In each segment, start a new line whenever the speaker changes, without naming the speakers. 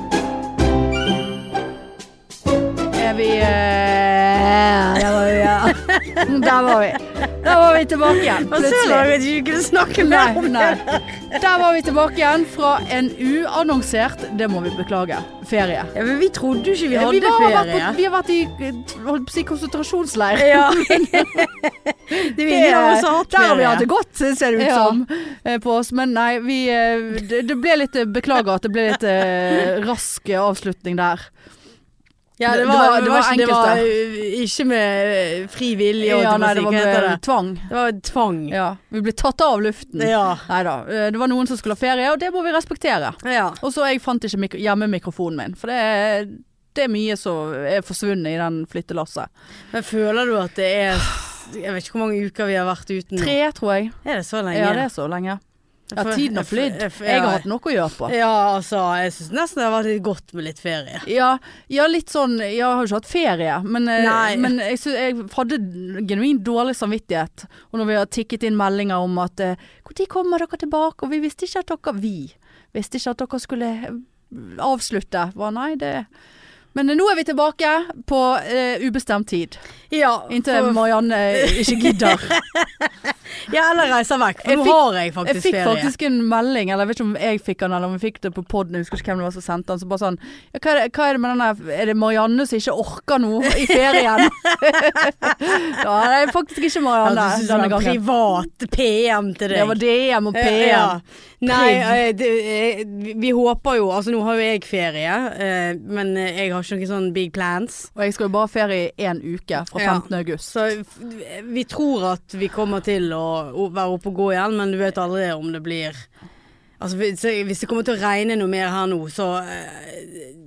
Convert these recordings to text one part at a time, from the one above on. eh, Der var vi. Der var vi tilbake igjen,
Og så var
plutselig.
jeg ikke kunne snakke mer
Nei,
om
nei.
det.
Der var vi tilbake igjen fra en uannonsert, det må vi beklage, ferie.
Ja, men vi trodde jo ikke vi
Ja,
hadde
var- har
ferie.
vært på- vi har vært i eh, holdt på å si, konsentrasjonsleir.
Ja. Det er ingen av oss som har hatt
Der har vi
ferie.
hatt det godt, ser det ut
Ja.
som, eh, på oss. Men nei, vi eh, Det, det ble litt eh, Beklager at det ble litt eh, rask eh, avslutning der.
Ja, det
Det
var,
var-
det
det
var,
var
ikke, det var
enkelte.
øh, ikke med øh, fri vilje. og
Ja, nei, det var
hva heter det?
med tvang.
det var tvang.
Ja. Vi ble tatt av luften.
Ja.
Nei da. Det var noen som skulle ha ferie, og det må vi respektere.
ja.
Og så jeg fant ikke mikro hjemmemikrofonen min, for det er, det er mye som er forsvunnet i den flyttelasset.
Men føler du at det er Jeg vet ikke hvor mange uker vi har vært uten. nå.
Tre, tror jeg.
Er det så
Mm.
lenge?
Ja, det er så lenge. Ja, tiden har flydd. Jeg har hatt nok å gjøre på.
Ja, altså, jeg syns nesten det har vært litt godt med litt ferie.
Ja, ja, litt sånn Jeg har jo ikke hatt ferie, men, eh,
Nei.
men jeg, sy- jeg hadde genuint dårlig samvittighet. Og når vi har tikket inn meldinger om at eh, Når kommer dere tilbake? Og vi visste ikke at dere Vi visste ikke at dere skulle eh, avslutte. Hva, nei, det Men eh, nå er vi tilbake på eh, ubestemt tid.
Ja,
Inntil
for-
Marianne eh, ikke gidder.
ja eller reiser vekk, for
Jeg
nå
fikk-
har jeg
Jeg
faktisk
fikk
ferie.
faktisk en melding, eller jeg vet ikke om jeg fikk den, eller om vi fikk det på poden, jeg husker ikke hvem det var som sendte den, så bare sånn ja, hva, er det, hva er det med den der Er det Marianne som ikke orker noe i ferien? ja, det er faktisk ikke
Ja,
Marianne
du synes det
denne
var
gangen.
privat PM til deg.
Det var DM og
Eh, ja.
PM.
Nei,
Priv.
eh, det, eh, vi- vi håper jo Altså nå har jo jeg ferie, eh, men eh, jeg har ikke noen sånn big plans.
Og jeg skal jo bare ha ferie i én uke, fra
Ja.
15. august.
Så f- vi tror at vi kommer til å å være oppe og gå igjen, men du vet aldri om det blir Altså hvis hvis det kommer til å regne noe mer her nå, så eh,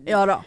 Ja da.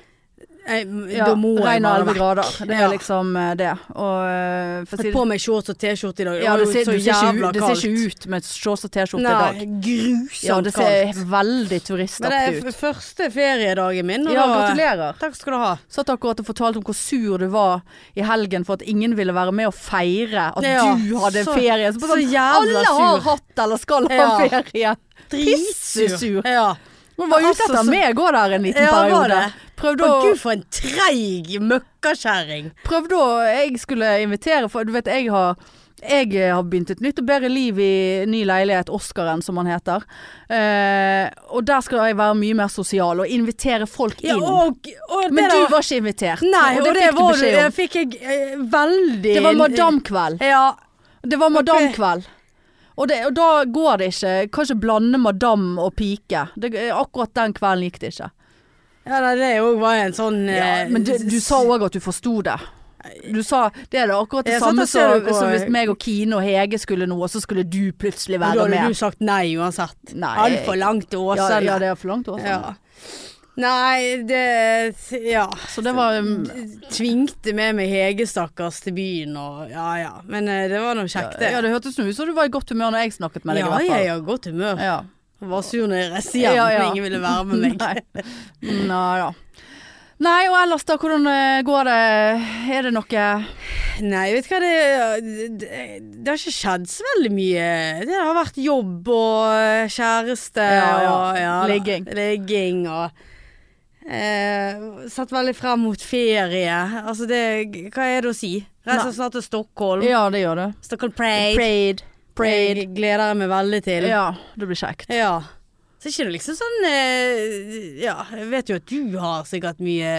jeg,
Ja,
Da må jeg
Regn og 11
bare vekk.
grader. Det er
Ja.
liksom eh, det. Og eh, for å
Jeg
si
har på meg shorts og T-skjorte i dag.
ja, det, ser,
var
du
jo så
ser ikke,
jævla
ut- det ser ikke ut med shorts og T-skjorte i dag.
Nei, grusomt
Ja, det
kaldt.
ser veldig
Men det
turistaktig
er
ut.
f- første feriedagen min. og
Ja,
da-
gratulerer.
Takk skal du ha.
Satt akkurat og fortalte om hvor sur du var i helgen for at ingen ville være med og feire at
Ja,
du hadde
så-
ferie. Så bare
så
sånn,
jævla
alle har
sur.
hatt eller skal ha
Ja.
ferie. Pissesur.
Ja.
Hun var ute
Altså,
etter
så-
meg òg der en liten
Ja, var
periode.
det?
Prøvde
Å
å,
gud, for en treig møkkakjerring.
prøvde å Jeg skulle invitere, for du vet jeg har jeg eh, har begynt et nytt og bedre liv i ny leilighet, Oscaren som han heter. Eh, og der skal jeg være mye mer sosial og invitere folk inn.
og, og det
Men du
der-
var ikke invitert,
Nei,
og det fikk du
var,
beskjed
det
om.
fikk jeg eh, veldig
Det var madamkveld.
Ja.
Det var madamkveld. Og, det- og da går det ikke. Kan ikke blande madam og pike. Det, akkurat den kvelden gikk det ikke.
ja nei, det òg var en sånn eh,
Ja, men du, du sa òg at du forsto det. Du sa Det er det akkurat det
Jeg
samme
satt og så
som
på-
som hvis meg og Kine og Hege skulle noe, og så skulle du plutselig
Da
være
hadde du
med.
sagt nei uansett.
Nei.
Altfor langt til
Ja,
Åsane.
ja, det sånn. er for langt år siden.
Ja. Nei, det Ja.
Så det var um,
Tvingte med meg Hege, stakkars, til byen og ja ja. Men eh, det var nå kjekt, det.
Ja, det hørtes nå ut som du var i godt humør når jeg snakket med deg, i
ja,
hvert
jeg
fall.
har godt humør.
Ja.
Jeg var sur når jeg reiste hjem,
Ja, ja.
men ingen ville være med meg.
Nei. Nei da. Nei, og ellers da, hvordan eh, går det? Er det noe
Nei, vet du hva, det, det, det har ikke skjedd så veldig mye. Det har vært jobb og kjæreste
Ja, ja.
og da.
Ligging.
Ligging og eh, Satt veldig frem mot ferie. Altså det Hva er det å si?
Nei.
Reiser snart til Stockholm.
Ja, det gjør det.
Stockholm Pride.
Prayed.
Jeg gleder jeg meg veldig til.
Ja, det blir kjekt.
Ja. Så er ikke det liksom sånn eh, Ja, jeg vet jo at du har sikkert mye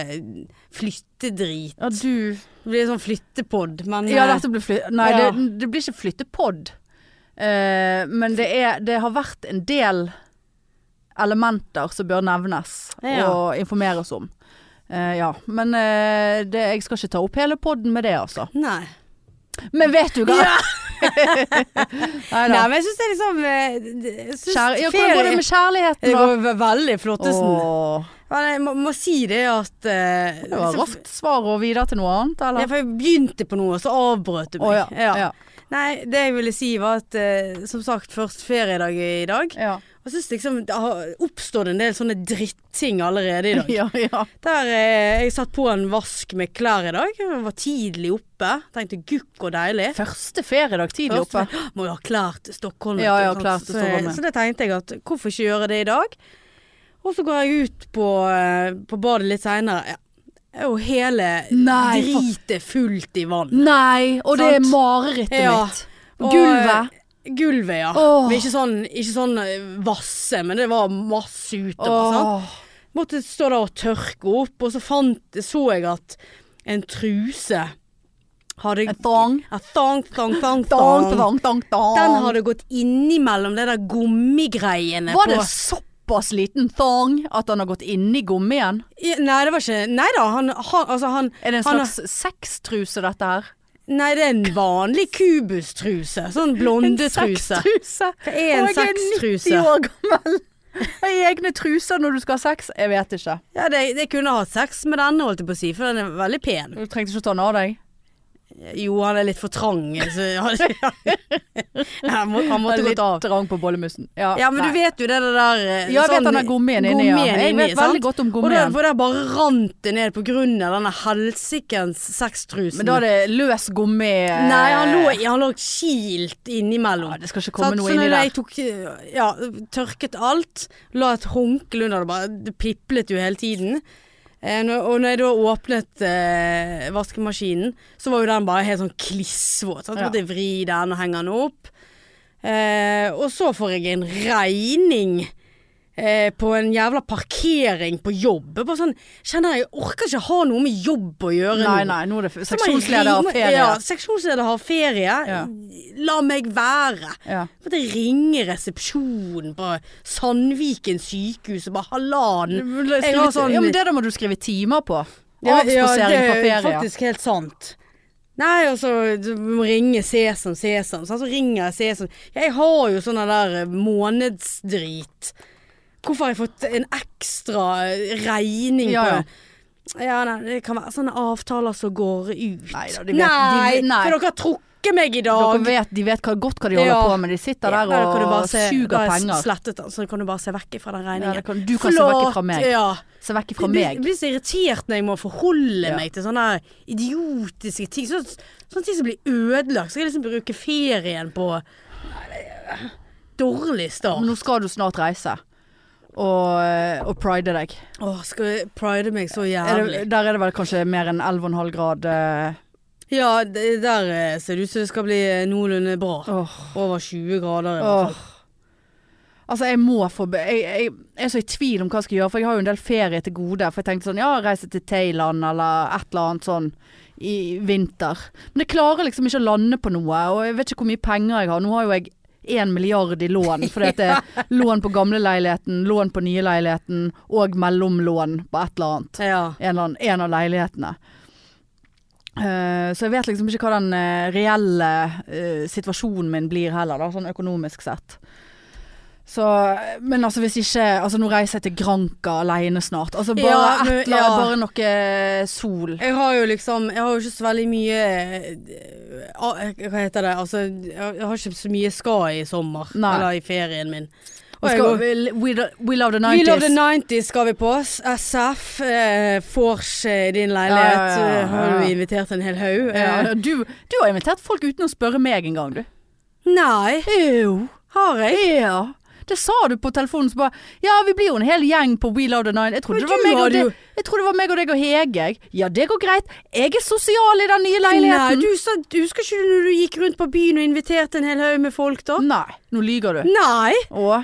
flyttedrit.
Ja, du
Det blir en sånn flyttepod, men
Ja,
eh,
dette blir flytt... Nei,
Ja.
det, det blir ikke flyttepodd. Eh, men det, er, det har vært en del elementer som bør nevnes
Ja.
og informeres om. Eh, ja, men eh, det, jeg skal ikke ta opp hele podden med det, altså.
Nei.
Men vet du hva?
Ja.
Neida.
Nei, men jeg syns det er liksom eh, det- jeg synes
Kjære, ja, hvordan går det med
Det
kjærligheten, da?
går ve- veldig flottesen.
Åh,
Men jeg må, må si det at eh,
det var
så-
raskt svar og videre til noe annet,
Ja,
eller?
for jeg begynte på noe, og så avbrøt du meg.
Å, ja. Ja.
Nei, det jeg ville si var at eh, som sagt, først feriedag i dag.
Ja.
Jeg syns liksom det har oppstått en del sånne dritting allerede i dag.
ja, ja.
Der eh, jeg satt på en vask med klær i dag. Jeg var tidlig oppe. Tenkte gukk og deilig.
Første feriedag tidlig
Først,
oppe.
men, Må jo ha klær til Stockholm.
Ja,
vet du,
ja,
sant?
klær til
så,
Stockholm, ja.
så det tenkte jeg at hvorfor ikke gjøre det i dag? Og så går jeg ut på, eh, på badet litt seinere. Ja. Og hele
Nei, for-
dritet fullt i vann.
Nei, og det er
Sant?
marerittet
Ja.
mitt.
Og-
Gulvet.
Gulvet, ja.
Åh.
Men ikke sånn, ikke sånn eh, vasse, men det var masse utover. Sant?
Åh.
Måtte stå der og tørke opp, og så fant, så jeg at en truse hadde
En thong.
A thong, thong, thong,
Dang,
thong.
dang, dang, dang.
Den hadde gått innimellom det der gummigreiene
Var det
på
såpass liten thong at han har gått inni gummien?
Ja, Nei, det var ikke Nei da, han, han Altså, han
Er det en
Han har-
slags sextruse dette her?
Nei, det er en vanlig kubustruse. Sånn blondetruse.
Sextruse?
Hva er en
Og jeg er
sextruse?
90 år gammel. Har egne truser når du skal ha sex? Jeg vet ikke.
Ja, det, det kunne hatt sex med denne, holdt jeg på å si, for den er veldig pen.
Du trengte ikke å ta den av deg.
Jo, han er litt for trang. Så han, han, må, han måtte gått av.
Litt trang på bollemusen.
Ja, men
nei.
du vet jo det der eh,
Ja, jeg vet
sånn-
han har gummien inni. Ja.
gummien
Jeg
inni,
vet veldig
sant?
godt om
Og der,
gummien.
for der bare rant det ned på grunn av denne helsikens sextrusen.
Men da er det løs gummi eh,
Nei, han lå, han lå kilt innimellom.
ja, Det skal ikke komme
Sant? sånn
noe
så
inni
når jeg
der.
tok, eh, ja, tørket alt, la et håndkle under det, bare, det piplet jo hele tiden. Eh, når- og når jeg da åpnet eh, vaskemaskinen, så var jo den bare helt sånn klissvåt. sant? Så
Ja.
måtte jeg vri den og henge den opp. Eh, og så får jeg en regning eh, på en jævla parkering på jobb. Jeg Bare sånn, kjenner jeg, jeg orker ikke ha noe med jobb å gjøre
Nei,
nå.
nei, nå er det
Så må jeg
seksjonsleder
ringe-
av ferie.
Ja, seksjonsleder har ferie.
Ja.
La meg være.
Ja.
Måtte ringe resepsjonen på Sandviken sykehus og bare halvannen. Jeg har sånn-
ja, men det da må du skrive timer på.
Ja, ja,
Avspasering fra
det er
ferie.
faktisk helt sant. Nei, og så du må ringe Sesam, Sesam. sant? Så ringer jeg Sesam. Jeg har jo sånn der eh, månedsdrit. Hvorfor har jeg fått en ekstra eh, regning
Ja,
på
ja.
det? Ja, nei, det kan være sånne avtaler som går ut.
Nei da, de vet- de- nei.
for dere har trukket meg i dag.
Dere vet, de vet hva, godt hva de holder
Ja.
på med. De sitter der
Ja, da kan du bare
og
se- da har
suger
jeg
penger.
Slettet den, så da kan du bare se vekk fra den
Ja,
regningen.
det kan, du kan se vekk fra meg.
Ja.
Se vekk fra
Jeg blir-
meg.
blir så irritert når jeg må forholde
Ja.
meg til sånne idiotiske ting. Sånn, sånne ting som blir ødelagt. Så jeg liksom bruke ferien på Nei, det er-
Men
Dårlig start.
nå skal du snart reise. Og, og pride deg.
Åh, skal jeg pride meg så
Er
jævlig?
det, der er det vel kanskje mer enn 11,5 grad eh,
Ja, det, der eh, ser det ut som det skal bli eh, noenlunde bra.
Åh.
Over 20 grader i hvert
Åh.
fall.
Altså, jeg må få be- jeg, jeg, jeg er så i tvil om hva jeg skal gjøre, for jeg har jo en del ferie til gode. For jeg tenkte sånn, ja, reise til Thailand eller et eller annet sånn i vinter. Men jeg klarer liksom ikke å lande på noe, og jeg vet ikke hvor mye penger jeg har. Nå har jo jeg én milliard i lån, fordi at det er lån på gamleleiligheten, lån på nye leiligheten og mellomlån på et eller annet
Ja.
en, eller annen, en av leilighetene. Eh, så jeg vet liksom ikke hva den eh, reelle eh, situasjonen min blir heller, da, sånn økonomisk sett. Så, men altså hvis ikke altså Nå reiser jeg til Granca alene snart. Altså bare,
Ja, men-
et eller, annet,
ja.
bare noe eh, sol.
Jeg har jo liksom Jeg har jo ikke så veldig mye eh, ah, Hva heter det? Altså, jeg har- jeg har ikke så mye ska i sommer.
Nei.
Eller i ferien min. Og
Vi
jeg
skal,
går-
we, we love the 90s.
We love the 90s skal vi på. S- SF. Eh, Fors eh, i din leilighet.
Ja, ja, ja,
eh, Har
ja.
du invitert en hel haug? Eh,
Ja, du, du har invitert folk uten å spørre meg engang, du.
Nei.
Jo.
Har jeg?
Ja. Det sa du på telefonen. Så bare Ja, vi blir jo en hel gjeng på We Love the Nine. Jeg trodde, det
Men
var,
du
meg og
hadde jo-
deg, jeg trodde det var meg og deg og Hege. jeg. Ja, det går greit. Jeg er sosial i den nye
Nei,
leiligheten.
du sa, du husker ikke du når du gikk rundt på byen og inviterte en hel haug med folk, da?
Nei, nå lyver du.
Nei.
Å?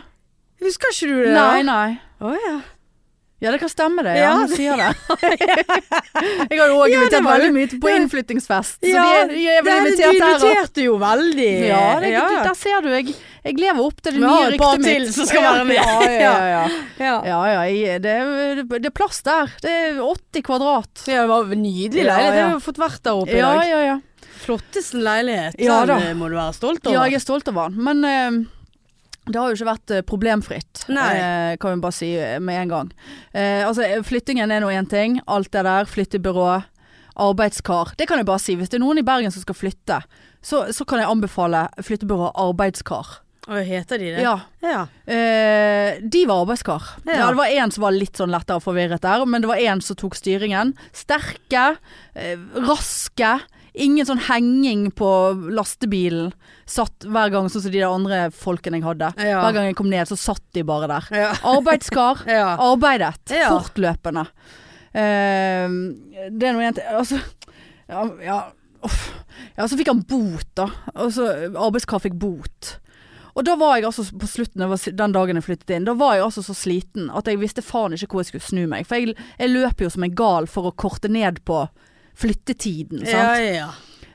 Husker ikke du det? da?
Nei, nei.
Å ja.
Ja, det kan stemme det. Ja,
Ja,
du sier det. jeg har jo òg
Ja, det
invitert
var
veldig
du.
mye på innflyttingsfest. Så
Ja,
de er, de er vel
det-
invitert
Du
der òg.
inviterte jo veldig.
Ja, det,
ja.
du- der ser du. Jeg, jeg lever opp til det
Vi
nye
har et par
ryktet mitt.
til som skal være med.
Ja, ja, ja.
ja.
ja, ja jeg, det, er- det er plass der. Det er 80 kvadrat.
Ja, det var en nydelig
Ja,
leilighet.
ja.
Jeg har jo fått vært der oppe
Ja,
i dag.
ja, ja.
Flottesten leilighet.
Ja, da.
Den eh, må du være stolt over.
Ja, jeg er stolt over han. Men eh, det har jo ikke vært eh, problemfritt,
Nei.
eh, kan vi bare si eh, med en gang. Eh, altså, eh, flyttingen er nå én ting. Alt det der. Flyttebyrå. Arbeidskar. Det kan jeg bare si. Hvis det er noen i Bergen som skal flytte, så, så kan jeg anbefale flyttebyrået Arbeidskar.
Å, heter de det?
Ja.
ja.
Eh, de var arbeidskar. Ja.
Ja.
det var én som var litt sånn lettere forvirret der, men det var én som tok styringen. Sterke, eh, raske. Ingen sånn henging på lastebilen. Satt hver gang, sånn som de der andre folkene jeg hadde.
Ja.
Hver gang jeg kom ned, så satt de bare der.
Ja.
Arbeidskar.
Ja.
Arbeidet.
Ja.
Fortløpende. Eh, det er noe jente Altså, ja, ja uff. Ja, så fikk han bot, da. Altså, arbeidskar fikk bot. Og da var jeg altså på slutten, jeg var, den dagen jeg flyttet inn, da var jeg altså så sliten at jeg visste faen ikke hvor jeg skulle snu meg. For jeg, jeg løp jo som en gal for å korte ned på flyttetiden, sant.
Ja, ja.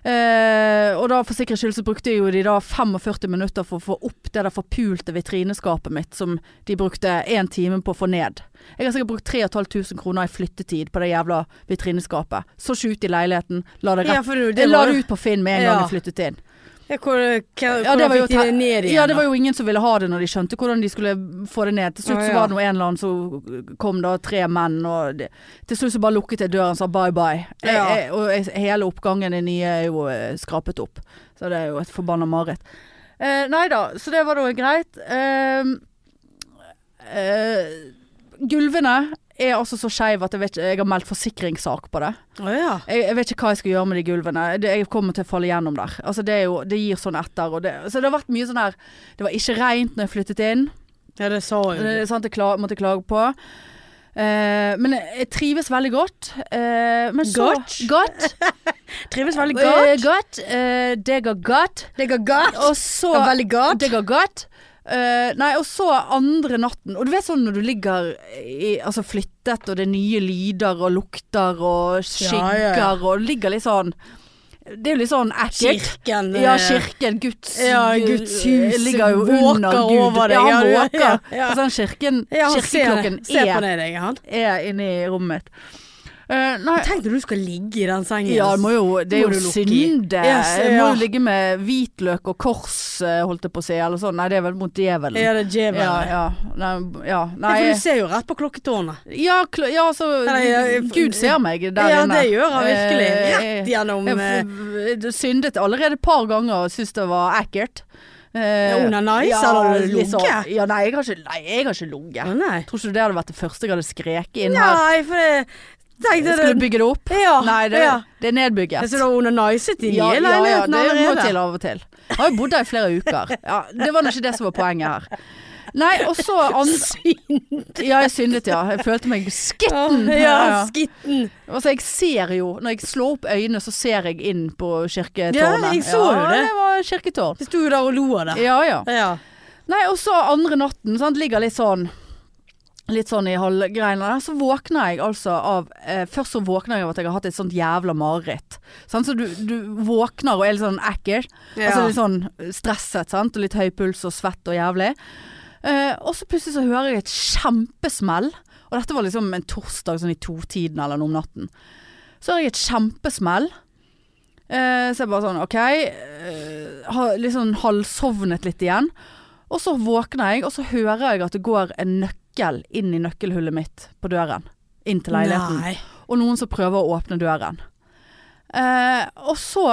Eh, og da for sikkerhets skyld så brukte jeg jo de da 45 minutter for å få opp det der forpulte vitrineskapet mitt som de brukte én time på å få ned. Jeg har sikkert brukt 3500 kroner i flyttetid på det jævla vitrineskapet. Så ikke ut i leiligheten, la det
ja
rett.
for du, det
jeg la
var
det
jo
ut på Finn med en gang
Ja.
jeg flyttet inn.
ja, Hvor, hva,
Ja, det
hvordan
var jo
fikk de det
te-
ned igjen?
Ja, det
da?
var jo ingen som ville ha det når de skjønte hvordan de skulle få det ned. Til slutt
Å, ja.
så var det nå en eller annen som kom da, tre menn, og det, til slutt så bare lukket jeg døren og sa bye bye. Jeg,
Ja.
jeg, og jeg, hele oppgangen i nye er jo eh, skrapet opp. Så det er jo et forbanna mareritt. Eh, nei da, så det var da greit. Eh, eh, gulvene er altså så skeive at jeg, vet, ikke- jeg har meldt forsikringssak på det.
Å, ja.
Jeg, jeg vet ikke hva jeg skal gjøre med de gulvene. Det, jeg kommer til å falle gjennom der. Altså, det, er jo, det gir sånn etter. Og det, så det har vært mye sånn her Det var ikke rent når jeg flyttet inn.
ja, det sa jo
Det
du.
er sant jeg kla- måtte klage på. Eh, men jeg, jeg trives veldig godt. Eh, men så
Godt?
Godt.
Trives veldig
Eh,
godt.
godt. Eh, det går godt.
Det går godt.
Og så
Det går veldig godt.
Det går godt. Eh, nei, og så andre natten Og du vet sånn når du ligger i, altså flyttet, og det er nye lyder og lukter og skygger,
Ja, ja, ja.
og du ligger litt sånn Det er jo litt sånn ekkelt.
Kirken.
Ja,
eh,
kirken. Guds, eh,
Ja, Guds hus
ligger jo
våker
under Gud.
over deg.
Ja, han
Ja, du-
våker.
ja, ja.
Altså, den kirken,
Ja, han ser,
kirkeklokken
ser på
er,
deg, deg, han.
er inni rommet mitt. Eh, nei,
Tenk når du skal ligge i den sengen.
ja, det, må jo, det er
Må du
jo
lukke i?
synde.
Yes,
Jeg må
ja.
jo ligge med hvitløk og kors, eh, holdt jeg på å si. Eller sånn. Nei, det er vel mot djevelen.
Ja, det er djevelen.
Ja,
Ja,
ja. Nei, ja. Nei.
for du ser jo rett på klokketårnet.
Ja, kl ja altså
Nei, jeg-
Gud ser meg der
ja,
inne.
det gjør han virkelig.
Eh,
Rett gjennom
Jeg
eh,
f- f- syndet allerede et par ganger og syntes det var ekkelt. Eh,
under nice, eller har du
litt sånn-
ligget?
Ja, nei, jeg har ikke, nei, jeg har ikke
Å
ligget.
nei.
Tror ikke det hadde vært det første jeg hadde skreket inn her.
Nei, for det Tenk deg
Skulle
det.
bygge det opp?
Ja.
Nei, det,
ja.
det er nedbygget.
Jeg ser du har under nicet i
Ja, ja,
nye
ja,
leiligheten
det må til
allerede.
av og til. Jeg har jo bodd der i flere uker. Ja, det var nå ikke det som var poenget her. Nei, og så andre Ja, jeg syndet, ja. Jeg følte meg skitten.
Å, Ja, skitten.
Altså, jeg ser jo Når jeg slår opp øynene, så ser jeg inn på kirketårnet.
Ja, jeg så jo det.
Ja, det var kirketårn.
Det sto jo der og lo av det.
Ja, ja.
Ja.
Nei, og så andre natten, sant, ligger litt sånn Litt sånn i halvgreiene der, så våkner jeg altså av eh, Først så våkner jeg av at jeg har hatt et sånt jævla mareritt. Sant? Så du, du våkner og er litt sånn ekkel.
Ja.
Altså litt sånn stresset, sant. Og litt høy puls og svett og jævlig. Eh, og så plutselig så hører jeg et kjempesmell. Og dette var liksom en torsdag sånn i totiden eller noe om natten. Så hører jeg et kjempesmell. Eh, så jeg bare sånn OK. Eh, har liksom halvsovnet litt igjen. Og så våkner jeg, og så hører jeg at det går en nøkkel inn i nøkkelhullet mitt på døren. Inn til leiligheten.
Nei.
Og noen som prøver å åpne døren. Eh, og så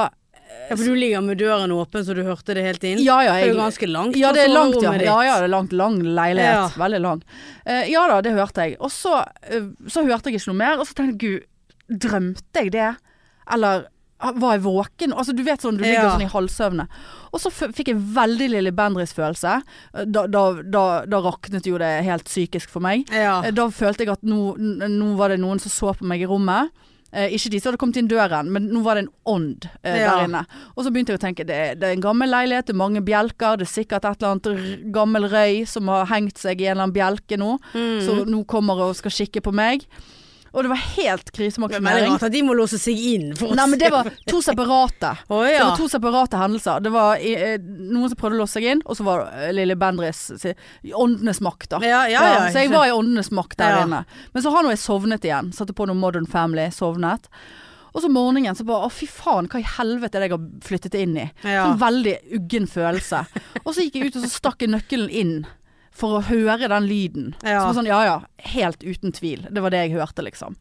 Ja, for du ligger med døren åpen, så du hørte det helt inn.
Ja ja,
det er jo
jeg,
ganske langt.
ja,
fra
det er langt, ja.
soverommet ditt.
ja, ja det er langt, lang leilighet.
Ja.
Veldig lang. Eh, ja da, det hørte jeg. Og så, eh, så hørte jeg ikke noe mer, og så tenkte jeg gud, drømte jeg det? Eller ah, var jeg våken? Altså du vet sånn, du ligger
Ja.
sånn i halvsøvne. Og så f fikk jeg veldig Lilly Bendriss-følelse. Eh, Da, da, da, da raknet jo det helt psykisk for meg.
Ja.
Eh, Da følte jeg at nå, n- nå var det noen som så på meg i rommet. Eh, ikke de som hadde kommet inn døren, men nå var det en ånd eh,
Ja.
der inne. Og så begynte jeg å tenke det, er- det er en gammel leilighet, det er mange bjelker, det er sikkert et eller annet r gammel røy som har hengt seg i en eller annen bjelke nå.
Mm.
Så nå kommer og skal kikke på meg. Og det var helt
Det er veldig
krisemaksimering.
rart at de må låse seg inn for å
Nei, men det
se-
var to separate.
Å
Det
ja.
var to separate hendelser. Det var eh, noen som prøvde å låse seg inn, og så var det eh, Lilly Bendriss si- Åndenes makt, da.
Ja, ja, ja.
Så jeg var i åndenes makt der
Ja.
inne. Men så har nå jeg sovnet igjen. Satte på noe Modern Family, sovnet. Og så morgenen så bare Å, fy faen, hva i helvete er det jeg har flyttet inn i?
Ja.
Sånn veldig uggen følelse. og så gikk jeg ut, og så stakk jeg nøkkelen inn. For å høre den lyden.
Ja.
Som var sånn, ja ja, helt uten tvil. Det var det jeg hørte, liksom.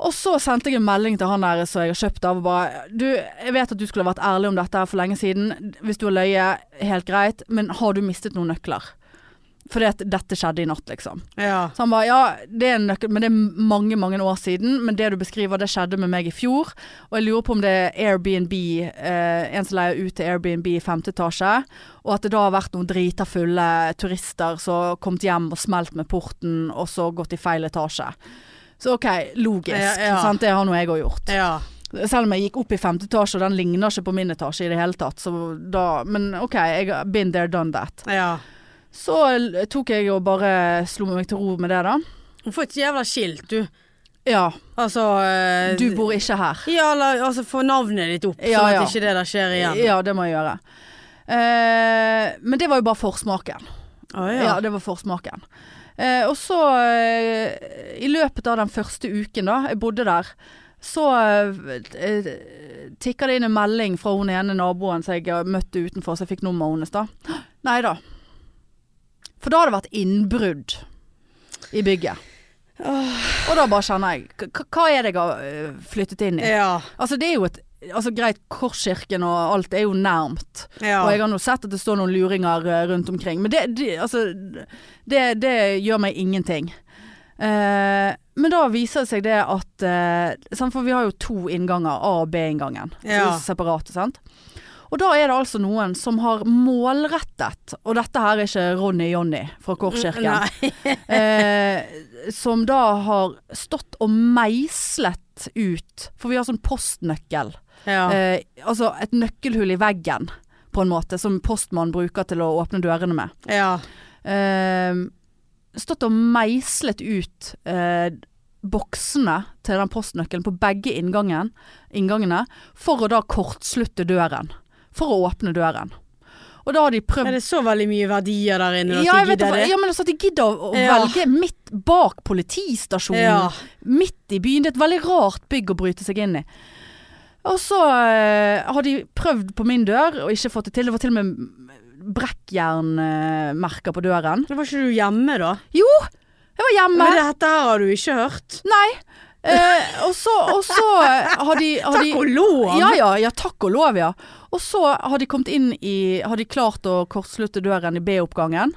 Og så sendte jeg en melding til han der som jeg har kjøpt av, og bare Du, jeg vet at du skulle ha vært ærlig om dette her for lenge siden. Hvis du har løyet, helt greit, men har du mistet noen nøkler? Fordi at dette skjedde i natt, liksom.
ja.
Så han bare ja, det er en nøkkel, men det er mange, mange år siden. Men det du beskriver, det skjedde med meg i fjor. Og jeg lurer på om det er Airbnb, eh, en som leier ut til Airbnb i femte etasje. Og at det da har vært noen drita fulle turister som har kommet hjem og smelt med porten, og så gått i feil etasje. Så OK, logisk.
Ja, ja.
Sant? Det har nå jeg òg gjort.
Ja.
Selv om jeg gikk opp i femte etasje, og den ligner ikke på min etasje i det hele tatt. Så da, men OK, jeg har been there, done that.
ja.
Så l- tok jeg og bare slo meg til ro med det, da.
Du får et jævla skilt, du.
Ja,
Altså eh,
du bor ikke her.
Ja, eller altså få navnet ditt opp,
Ja,
sånn at
ja.
ikke det der skjer igjen.
Ja, det må jeg gjøre. Eh, men det var jo bare forsmaken.
Å,
Ja,
ja.
det var forsmaken. Eh, og så, eh, i løpet av den første uken da, jeg bodde der, så eh, tikka det inn en melding fra hun ene naboen som jeg møtte utenfor, så jeg fikk nummeret hennes da. Nei da. For da hadde det vært innbrudd i bygget. Og da bare kjenner jeg k- k- Hva er det jeg har eh, flyttet inn i?
ja.
Altså det er jo et Altså greit, Korskirken og alt er jo nærmt.
ja.
Og jeg har nå sett at det står noen luringer eh, rundt omkring. Men det, det, altså, det, det gjør meg ingenting. Eh, men da viser det seg det at eh, sant, For vi har jo to innganger, A- og B-inngangen. Så
Ja.
det er Separate, sant. Og da er det altså noen som har målrettet Og dette her er ikke Ronny Jonny fra Korskirken.
Nei.
eh, som da har stått og meislet ut For vi har sånn postnøkkel.
Ja.
Eh, altså et nøkkelhull i veggen, på en måte, som postmann bruker til å åpne dørene med.
ja.
Eh, stått og meislet ut eh, boksene til den postnøkkelen på begge inngangen, inngangene, for å da kortslutte døren. For å åpne døren. Og da har de prøvd
Er det så veldig mye verdier der inne?
ja, jeg vet,
det.
det. ja, men altså at de gidder å, å
Ja.
velge midt bak politistasjonen.
Ja.
Midt i byen. Det er et veldig rart bygg å bryte seg inn i. Og så eh, har de prøvd på min dør og ikke fått det til. Det var til og med brekkjernmerker på døren.
Men Var ikke du hjemme da?
Jeg var hjemme.
Men dette her har du ikke hørt.
Nei. Eh, og så, og så har de, har de
Takk og lov!
Ja, ja, ja, takk og lov, ja. Og så har de kommet inn i Har de klart å kortslutte døren i B-oppgangen.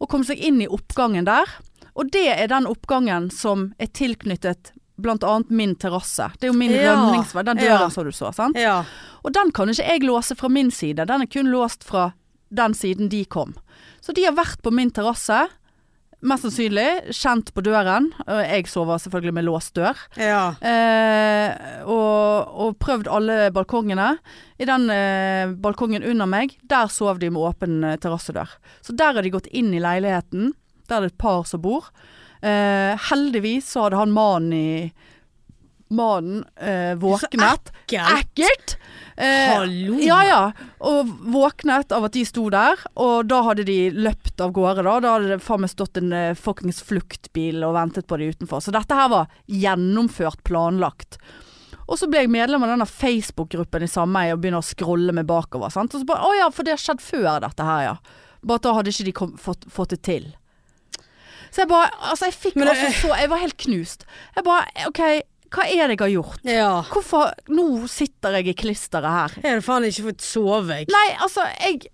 Og kommet seg inn i oppgangen der. Og det er den oppgangen som er tilknyttet bl.a. min terrasse. Det er jo min
Ja.
rømningsvei. Den døren
Ja.
som du så, sant.
Ja.
Og den kan ikke jeg låse fra min side. Den er kun låst fra den siden de kom. Så de har vært på min terrasse. Mest sannsynlig. Kjent på døren. Og Jeg sover selvfølgelig med låst dør.
ja.
Eh, og, og prøvd alle balkongene. I den eh, balkongen under meg, der sov de med åpen eh, terrassedør. Så der har de gått inn i leiligheten. Der er det et par som bor. Eh, heldigvis så hadde han mannen i Mannen eh, våknet.
Ekkelt.
Ekkelt! Eh,
Hallo.
ja, ja. Og våknet av at de sto der, og da hadde de løpt av gårde. Da Da hadde det faen meg stått en uh, fuckings fluktbil og ventet på de utenfor. Så dette her var gjennomført planlagt. Og så ble jeg medlem av denne Facebook-gruppen i sameie og begynner å scrolle meg bakover. Sant? Og så bare Å ja, for det har skjedd før dette her, ja. Bare at da hadde ikke de kom, fått, fått det til. Så jeg bare Altså, jeg fikk
Men det-
altså så Jeg var helt knust. Jeg bare OK, hva er det jeg har gjort?
Ja.
Hvorfor Nå sitter jeg i klisteret her.
Jeg hadde faen ikke fått sove. Jeg
Nei, altså, jeg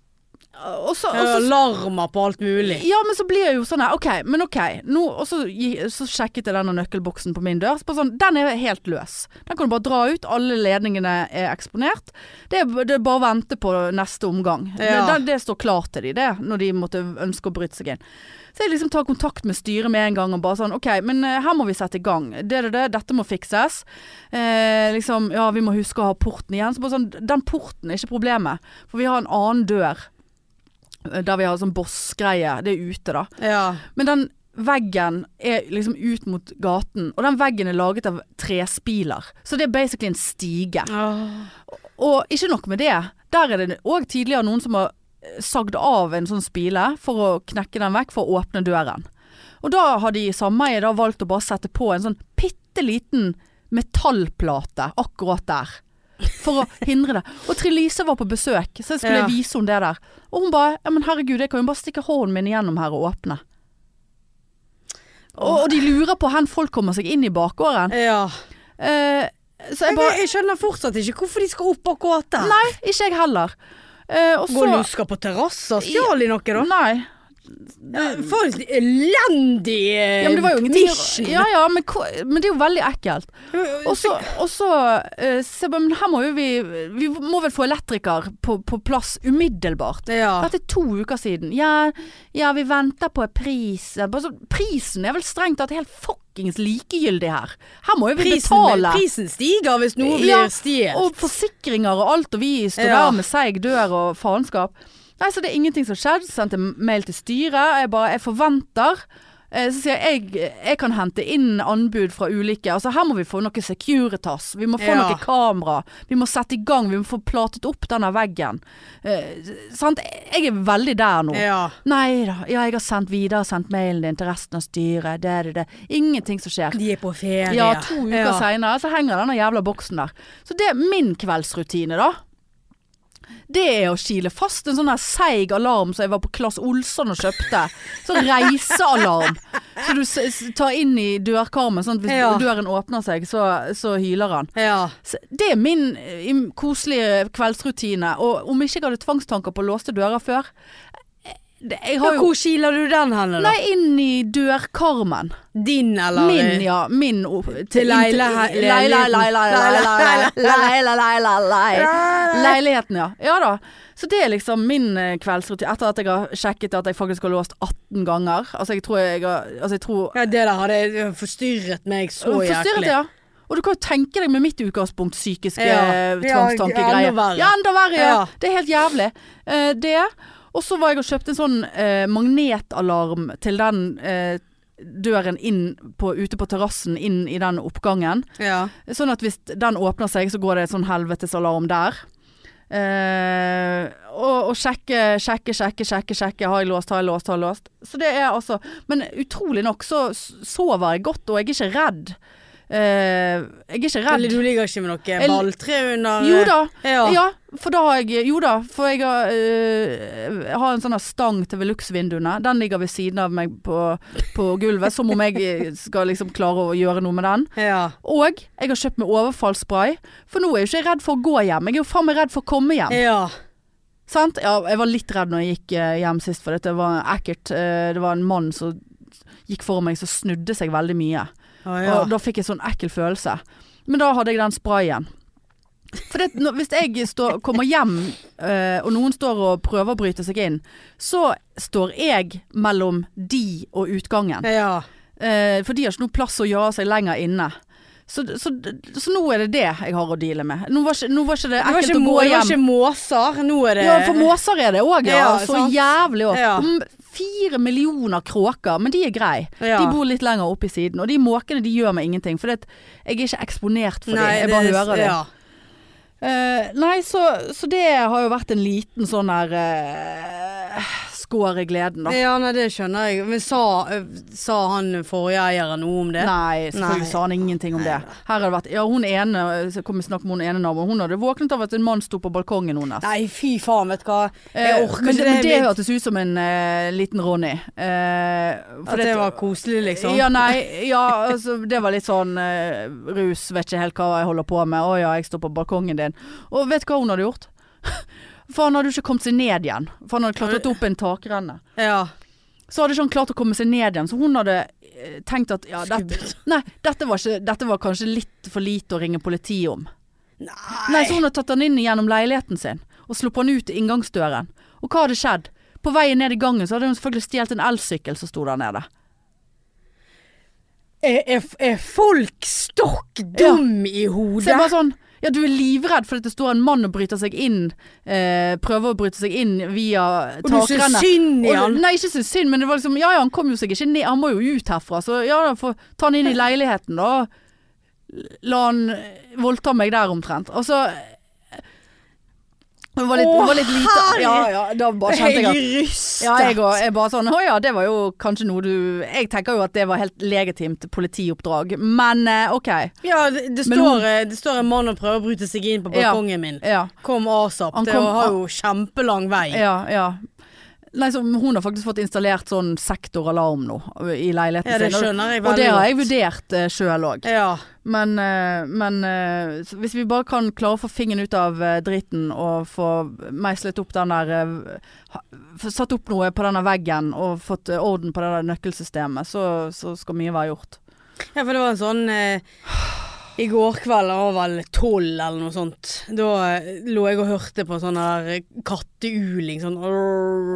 Og så, og
Jeg har
så
alarmer på alt mulig.
ja, men så blir jeg jo sånn her, OK, men OK. Nå, og så, gi- så sjekket jeg denne nøkkelboksen på min dør. Så bare sånn, den er helt løs. Den kan du bare dra ut. Alle ledningene er eksponert. Det er, det er bare å vente på neste omgang.
Ja.
Det, den- det står klart til de, det, når de måtte ønske å bryte seg inn. Så jeg liksom tar kontakt med styret med en gang og bare sånn OK, men eh, her må vi sette i gang. Det er det, det, dette må fikses. Eh, liksom, ja, vi må huske å ha porten igjen. Så bare sånn, den porten er ikke problemet, for vi har en annen dør. eh, Der vi har sånn bossgreie. Det er ute, da.
Ja.
Men den veggen er liksom ut mot gaten, og den veggen er laget av trespiler. Så det er basically en stige. Ah.
Åh.
Og ikke nok med det. Der er det òg tidligere noen som har eh, sagd av en sånn spile for å knekke den vekk, for å åpne døren. Og da har de i sameie da valgt å bare sette på en sånn bitte liten metallplate akkurat der. For å hindre det. Og Trilise var på besøk, så jeg skulle
Ja.
vise henne det der. Og hun bare Ja, men herregud, jeg kan jo bare stikke hånden min igjennom her og åpne. Og, og de lurer på hvor folk kommer seg inn i bakgården.
Ja.
Eh, så jeg
Jeg,
bare
jeg skjønner fortsatt ikke hvorfor de skal opp akkurat
Ah.
der.
Nei, ikke jeg heller. Eh, og
Gå og
så
lusker på terrasser. Stjal de noe, da?
Nei.
Ja, for en elendig
Ja,
eh,
men det var jo ingenting å-
mission.
Ja ja, men, hva- men det er jo veldig ekkelt. Og så, og så eh, ser jeg bare, men her må jo vi Vi må vel få elektriker på, på plass umiddelbart.
Ja.
Dette er to uker siden. Ja, ja vi venter på pris. Bare så- prisen er vel strengt tatt helt fuckings likegyldig her. Her må jo vi
Prisen,
betale.
prisen stiger hvis noe blir
Ja,
stjålet.
Og forsikringer og alt, og vi står
Ja.
der med seig dør og faenskap. Nei, så det er ingenting som har skjedd. Sendte mail til styret. Jeg bare Jeg forventer. Eh, Så sier jeg jeg, jeg kan hente inn anbud fra ulike. Altså Her må vi få noe Securitas. Vi må få
Ja.
noe kamera. Vi må sette i gang. Vi må få platet opp denne veggen. Eh, sant? Jeg er veldig der nå.
Ja.
Nei da. Ja, jeg har sendt videre sendt mailen din til resten av styret. Det er det, det. Ingenting som skjer.
De er på ferie.
Ja, to uker
Ja.
seinere så henger denne jævla boksen der. Så det er min kveldsrutine, da. Det er å kile fast en sånn her seig alarm som jeg var på Klass Olsson og kjøpte. Sånn reisealarm. Så du s- s- tar inn i dørkarmen, sånn at hvis
Ja.
døren åpner seg, så, så hyler han.
Ja.
Så det er min eh, im- koselige kveldsrutine. Og om ikke jeg hadde tvangstanker på låste dører før det- Jeg
Ja,
har jo
hvor kiler du den hen, da?
Nei, inn i dørkarmen.
Din, eller?
Min, ja. Min o-
til leile-
inntil-
le-
Leile-
liten-
leile- leile- leile- leile- leile- leile- Leiligheten, ja. Ja da. Så det er liksom min eh, kveldsrutine. Etter at jeg har sjekket at jeg faktisk har låst 18 ganger. Altså jeg tror jeg har altså, jeg tror,
Ja, det der hadde forstyrret meg så jæklig.
Forstyrret, ja. Og du kan jo tenke deg med mitt utgangspunkt psykiske
Ja.
eh,
Ja,
tvangstankegreier.
enda verre.
Ja, enda verre. Ja.
Ja.
Det er helt jævlig. Eh, det. Og så var jeg og kjøpte en sånn eh, magnetalarm til den eh, døren inn på, ute på terrassen inn i den oppgangen.
Ja.
Sånn at hvis den åpner seg, så går det en sånn helvetesalarm der. Eh, og, og sjekke, sjekke, sjekke, sjekke, sjekke. Har jeg låst, har jeg låst, har jeg låst. Så det er altså Men utrolig nok så s- sover jeg godt, og jeg er ikke redd. Eh, jeg er ikke
Eller
redd.
du ligger ikke med noe
Jeg-
balltre under eh,
Jo da.
Ja.
Ja, for da har jeg Jo da, for jeg har, eh, har en sånn her stang til Velux-vinduene. Den ligger ved siden av meg på, på gulvet, som om jeg eh, skal liksom klare å gjøre noe med den.
ja.
Og jeg har kjøpt meg overfallsspray, for nå er jeg jo ikke redd for å gå hjem. Jeg er jo faen meg redd for å komme hjem.
ja.
Sant? Ja, jeg var litt redd når jeg gikk eh, hjem sist, for dette var ekkelt. Eh, Det var en mann som gikk foran meg som snudde seg veldig mye.
Å, ja.
Og da fikk jeg sånn ekkel følelse. Men da hadde jeg den sprayen. For det, når, hvis jeg står, kommer hjem, eh, og noen står og prøver å bryte seg inn, så står jeg mellom de og utgangen.
ja.
Eh, for de har ikke noe plass å gjøre seg lenger inne. Så, så, så nå er det det jeg har å deale med. Nå var ikke, nå var ikke det
Det var
ekkelt
ikke,
å
må,
gå
det var
hjem.
ikke måser. Nå er det
Ja, for måser er det òg, ja.
Ja,
Så
sant.
jævlig òg.
Ja.
Fire millioner kråker, men de er greie.
Ja.
De bor litt lenger oppe i siden. Og de måkene de gjør meg ingenting, for det, at jeg er ikke eksponert for
Nei,
det. Jeg bare hører det.
Ja.
Eh, nei, så, så det har jo vært en liten sånn her uh, skår i gleden, da.
ja, nei, det skjønner jeg. Men sa, eh, sa han forrige eieren noe om det?
Nei, selvfølgelig
Nei.
sa han ingenting om det. Her har det vært Ja, hun ene så kom jeg i snakk med hun ene naboen. Hun hadde våknet av at en mann sto på balkongen hennes.
Nei, fy faen, vet du hva.
Eh,
Jeg orker
men
ikke
det, men det
mitt-
hørtes ut som en eh, liten Ronny. Eh, for
At det var koselig, liksom.
Ja, nei. Ja, altså, det var litt sånn eh, rus, vet ikke helt hva jeg holder på med. Å ja, jeg står på balkongen din. Og vet du hva hun hadde gjort? For han hadde jo ikke kommet seg ned igjen. For han hadde klatret opp en takrenne.
Ja.
Så hadde ikke han klart å komme seg ned igjen, så hun hadde eh, tenkt at ja, dette,
Skummelt.
nei, dette, var ikke, dette var kanskje litt for lite å ringe politiet om.
Nei.
Nei, så hun hadde tatt han inn gjennom leiligheten sin, og sluppet han ut i inngangsdøren. Og hva hadde skjedd? På veien ned i gangen så hadde hun selvfølgelig stjålet en elsykkel som sto der nede.
Er, er, er folk stokk dum
Så
i
jeg
hodet?
bare sånn Ja, du er livredd fordi det står en mann og bryter seg inn, eh, prøver å bryte seg inn via
Og du syns
takrenne.
synd i
Og-
han?
Nei, ikke så synd, men det var liksom Ja ja, han kom jo seg ikke ned, han må jo ut herfra, så ja da, få ta han inn i leiligheten, da. La han eh, voldta meg der omtrent. Og så Hun var litt, hun var litt lite Ja ja, da bare kjente jeg at
Jeg rystet.
ja, jeg òg. Jeg bare sånn Å ja, det var jo kanskje noe du Jeg tenker jo at det var helt legitimt politioppdrag, men eh, OK.
Ja, det, det,
Men
står,
hun-
eh, det står en mann og prøver å bryte seg inn på
Ja.
balkongen min.
Ja.
Kom asap.
Han
Det
kom-
har jo kjempelang vei.
Ja, ja. Nei, så hun har faktisk fått installert sånn sektoralarm nå i leiligheten
Ja, det
sin. og-
skjønner jeg veldig
Og det har jeg
godt.
vurdert eh, sjøl òg.
Ja.
Men, eh, men eh, så hvis vi bare kan klare å få fingeren ut av eh, driten og få meislet opp den der eh, ha- få Satt opp noe på denne veggen og fått eh, orden på det der nøkkelsystemet, så, så skal mye være gjort.
Ja, for det var en sånn eh, I går kveld, han var vel tolv eller noe sånt, da eh, lå jeg og hørte på sånn der eh, katteuling, sånn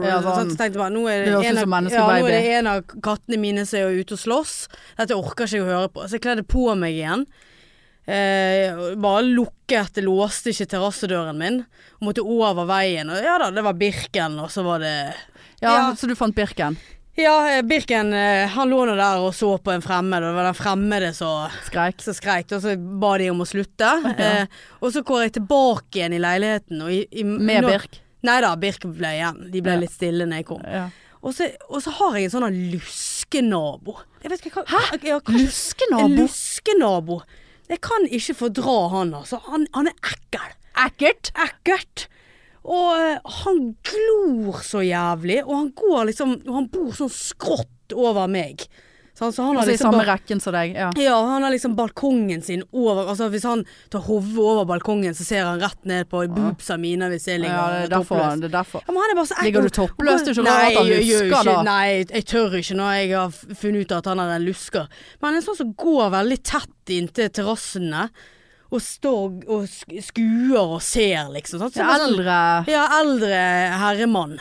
Ja,
sånn.
sånn.
Så tenkte jeg bare, nå er
Det
det,
høres ut
en
som
av,
menneskebaby.
ja, nå er det en av kattene mine som er ute og slåss. Dette orker ikke jeg å høre på. Så jeg kledde på meg igjen. Eh, bare lukket, låste ikke terrassedøren min. Og måtte over veien. Og ja da, det var Birken, og så var det
Ja,
Ja.
Så du fant Birken?
Ja, eh, Birken eh, han lå nå der og så på en fremmed, og det var den fremmede som
Skreik?
som skreik, og så ba de om å slutte. Eh, og så går jeg tilbake igjen i leiligheten. Og i, i,
Med Birk?
Nei da, Birk ble igjen. De ble
Ja.
litt stille når jeg kom.
Ja.
Og så, og så har jeg en sånn her luskenabo. Jeg vet ikke hva Hæ? Ja, hva- En
Luskenabo?
luskenabo. Jeg kan ikke fordra han, altså. Han, han er ekkel.
Ekkelt?
Ekkelt. Og eh, han glor så jævlig, og han går liksom Og han bor sånn skrått over meg. Så han, så han har
Altså i
liksom
samme
bare-
rekken som deg? Ja.
ja, han har liksom balkongen sin over Altså hvis han tar hodet over balkongen, så ser han rett ned på boobsa mine hvis jeg ligger
ja det, er derfor,
toppløs.
det er derfor.
Ja, men han er bare så ekkel.
Ligger du toppløs? Det er ikke rart
Nei,
han
jeg gjør jo
lusker,
ikke-
da.
Nei, jeg tør ikke når jeg har f- funnet ut at han er en lusker. Men han er sånn som går veldig tett inntil terrassene. Og står og sk- skuer og ser, liksom. Sant? Så
Ja,
det er sånn-
eldre
ja, eldre herremann.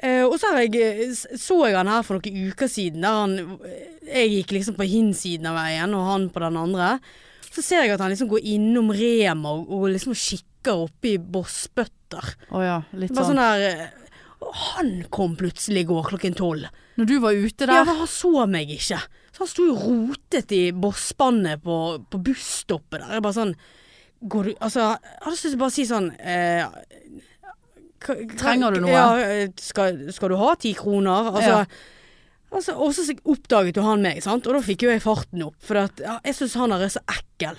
Eh, og så har jeg, s- så jeg han her for noen uker siden, der han Jeg gikk liksom på hinsiden av veien, og han på den andre. Så ser jeg at han liksom går innom Rema og, og liksom kikker oppi bossbøtter.
Å ja, litt
Bare sånn
sånn.
der eh, og Han kom plutselig i går klokken tolv.
Når du var ute
sånn-
der
Ja, men han så meg ikke. Så han sto jo rotet i bosspannet på, på busstoppet der. Jeg bare sånn Går du Altså, jeg hadde lyst til å bare si sånn eh, hva- hva-
Trenger du noe?
Ja, eh, skal, skal du ha ti kroner? Altså,
Ja.
altså Og så oppdaget jo han meg, sant. Og da fikk jo jeg farten opp. For at, ja, jeg syns han der er så ekkel.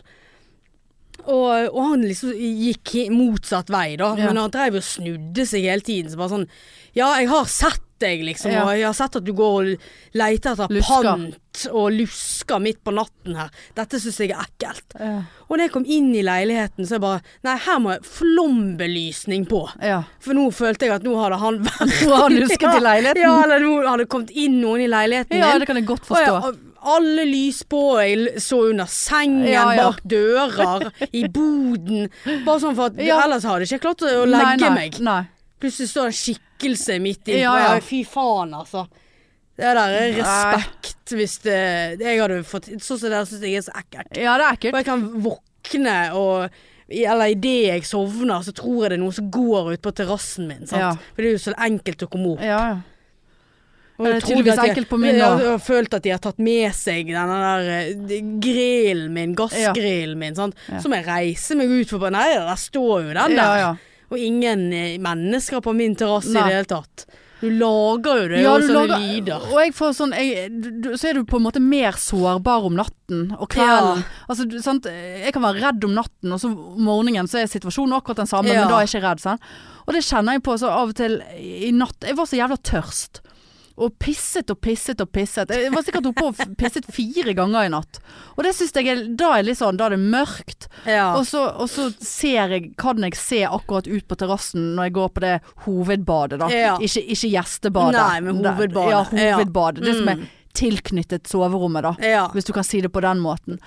Og, og han liksom gikk i motsatt vei, da.
Ja.
Men han dreiv og snudde seg hele tiden. Så bare sånn Ja, jeg har sett deg, liksom.
Ja.
Og jeg har sett at du går og leter etter
Lusker.
pant og lusker midt på natten her. Dette syns jeg er ekkelt.
Ja.
Og når jeg kom inn i leiligheten, så jeg bare Nei, her må jeg flombelysning på.
ja.
For nå følte jeg at nå hadde han vært
Nå har han husket i leiligheten.
Ja, eller nå hadde det kommet inn noen i leiligheten
ja,
min.
det kan jeg godt forstå.
Å ja, alle lys på, og jeg l- så under sengen,
Ja, ja.
bak dører, i boden. Bare sånn for at
Ja.
ellers hadde jeg ikke klart å legge
nei, nei,
meg.
Nei.
Plutselig står det en skikkelse midt inne.
Ja,
Ja,
ja.
Fy faen, altså. Det der er respekt hvis det Jeg hadde fått Sånn som det der syns jeg er så ekkelt.
Ja, det er ekkelt.
Og jeg kan våkne og i- eller idet jeg sovner, så tror jeg det er noen som går ut på terrassen min. Sant?
Ja.
For det er jo så enkelt å komme opp.
Ja, ja.
Og
Ja, det er
jeg trodde
tydeligvis
at jeg-
enkelt på min
jeg
da.
har- Jeg har følt at de har tatt med seg denne der eh, de- grillen min, gassgrillen min, sant.
Ja.
Så må jeg reise meg ut for bare Nei, der står jo den der.
Ja, ja.
Og ingen eh, mennesker på min terrasse i
Nei.
det hele tatt. Du lager jo det, og sånne lyder.
og jeg får sånn jeg, du, du- Så er du på en måte mer sårbar om natten og kvelden.
Ja.
Altså, du, sant? Jeg kan være redd om natten, og så om morgenen så er situasjonen akkurat den samme,
Ja.
men da er jeg ikke redd. Sant? Og det kjenner jeg på så av og til i natt. Jeg var så jævla tørst. Og pisset og pisset og pisset. Jeg var sikkert oppe og f- pisset fire ganger i natt. Og det syns jeg er Da er det litt sånn, da er det mørkt.
Ja.
Og så, og så ser jeg, kan jeg se akkurat ut på terrassen når jeg går på det hovedbadet, da.
Ja.
Ikke, ikke gjestebadet.
Nei, men hovedbadet.
Ja, hovedbadet. Det som
Mm.
er tilknyttet soverommet, da.
ja.
Hvis du kan si det på den måten.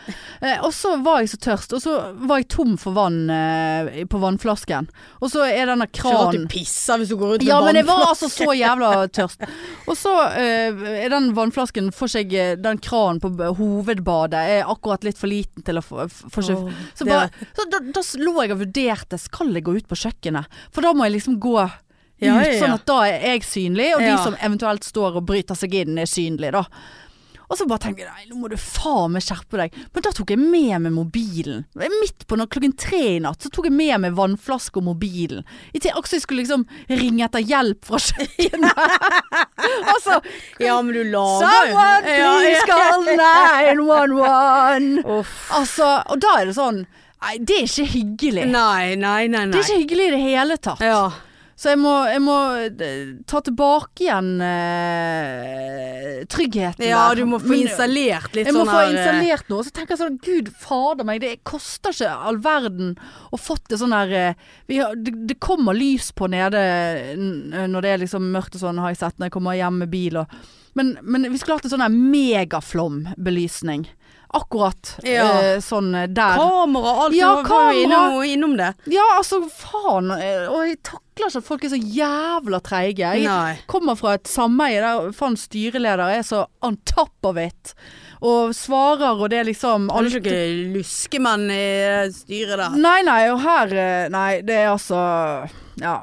Eh, og så var jeg så tørst, og så var jeg tom for vann eh, på vannflasken. Og så er denne
Ikke at du
kranen
pisser hvis du går ut med
ja, men jeg var
vannflaske.
altså så jævla tørst. Og så eh, er den vannflasken for seg eh, Den kranen på b- hovedbadet er akkurat litt for liten til å få f- for seg
Åh,
Så,
det-
bare, så da, da lå jeg og vurderte Skal jeg gå ut på kjøkkenet? For da må jeg liksom gå ut,
Ja, ja, ja.
sånn at da er jeg synlig, og de
Ja.
som eventuelt står og bryter seg inn, er synlige, da. Og så bare tenker jeg nei, nå må du faen meg skjerpe deg. Men da tok jeg med meg mobilen. Midt på natt, klokken tre i natt så tok jeg med meg vannflaske og mobilen. I til også jeg skulle liksom ringe etter hjelp fra kjøkkenet. altså
Ja, men du lager jo
Someone
Ja, ja.
please call 911!
Uff.
Altså, og da er det sånn Nei, det er ikke hyggelig.
Nei, nei, nei. nei.
Det er ikke hyggelig i det hele tatt.
ja.
Så jeg må, jeg må eh, ta tilbake igjen eh, tryggheten
Ja,
der.
du må få
Men-
installert litt
jeg må
sånn
få
her, eh,
installert noe. Så tenker jeg sånn Gud fader meg, det koster ikke all verden å fått det sånn her eh, vi har, det, det kommer lys på nede n- når det er liksom mørkt og sånn, har jeg sett når jeg kommer hjem med bil og Men, men vi skulle hatt en sånn her megaflombelysning. Akkurat
Ja.
eh, sånn eh, der.
Kamera og alt.
Ja,
du var jo
kamera.
Innom, innom det.
Ja, altså faen. eh, Og jeg takler ikke at folk er så jævla treige. Jeg
Nei.
kommer fra et sameie der faen styreleder er så on top of it. Og svarer og det er liksom
Har du
alt-
ikke luskemenn i eh, styret der?
Nei, nei, og her eh, Nei, det er altså Ja.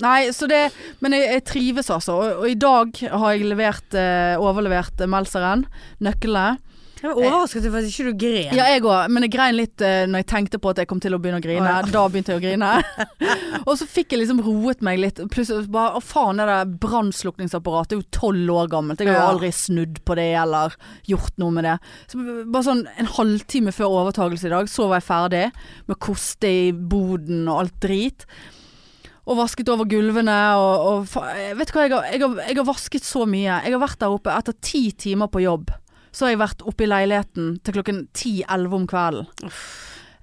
Nei, så det Men jeg, jeg trives altså. Og, og i dag har jeg levert, eh, overlevert eh, Melseren. Nøklene.
Jeg var overrasket over at ikke du gren.
Ja, jeg òg, men jeg grein litt eh, når jeg tenkte på at jeg kom til å begynne å grine.
Å,
Da begynte jeg å grine. og så fikk jeg liksom roet meg litt. Plutselig bare Å, faen, det der brannslukningsapparatet er jo tolv år gammelt. Jeg har jo
Ja.
aldri snudd på det eller gjort noe med det. Så bare sånn en halvtime før overtakelse i dag, så var jeg ferdig med å koste i boden og alt drit. Og vasket over gulvene og, og fa- Vet du hva, jeg har, jeg, har, jeg har vasket så mye. Jeg har vært der oppe etter ti timer på jobb. Så har jeg vært oppe i leiligheten til klokken 10-11 om kvelden.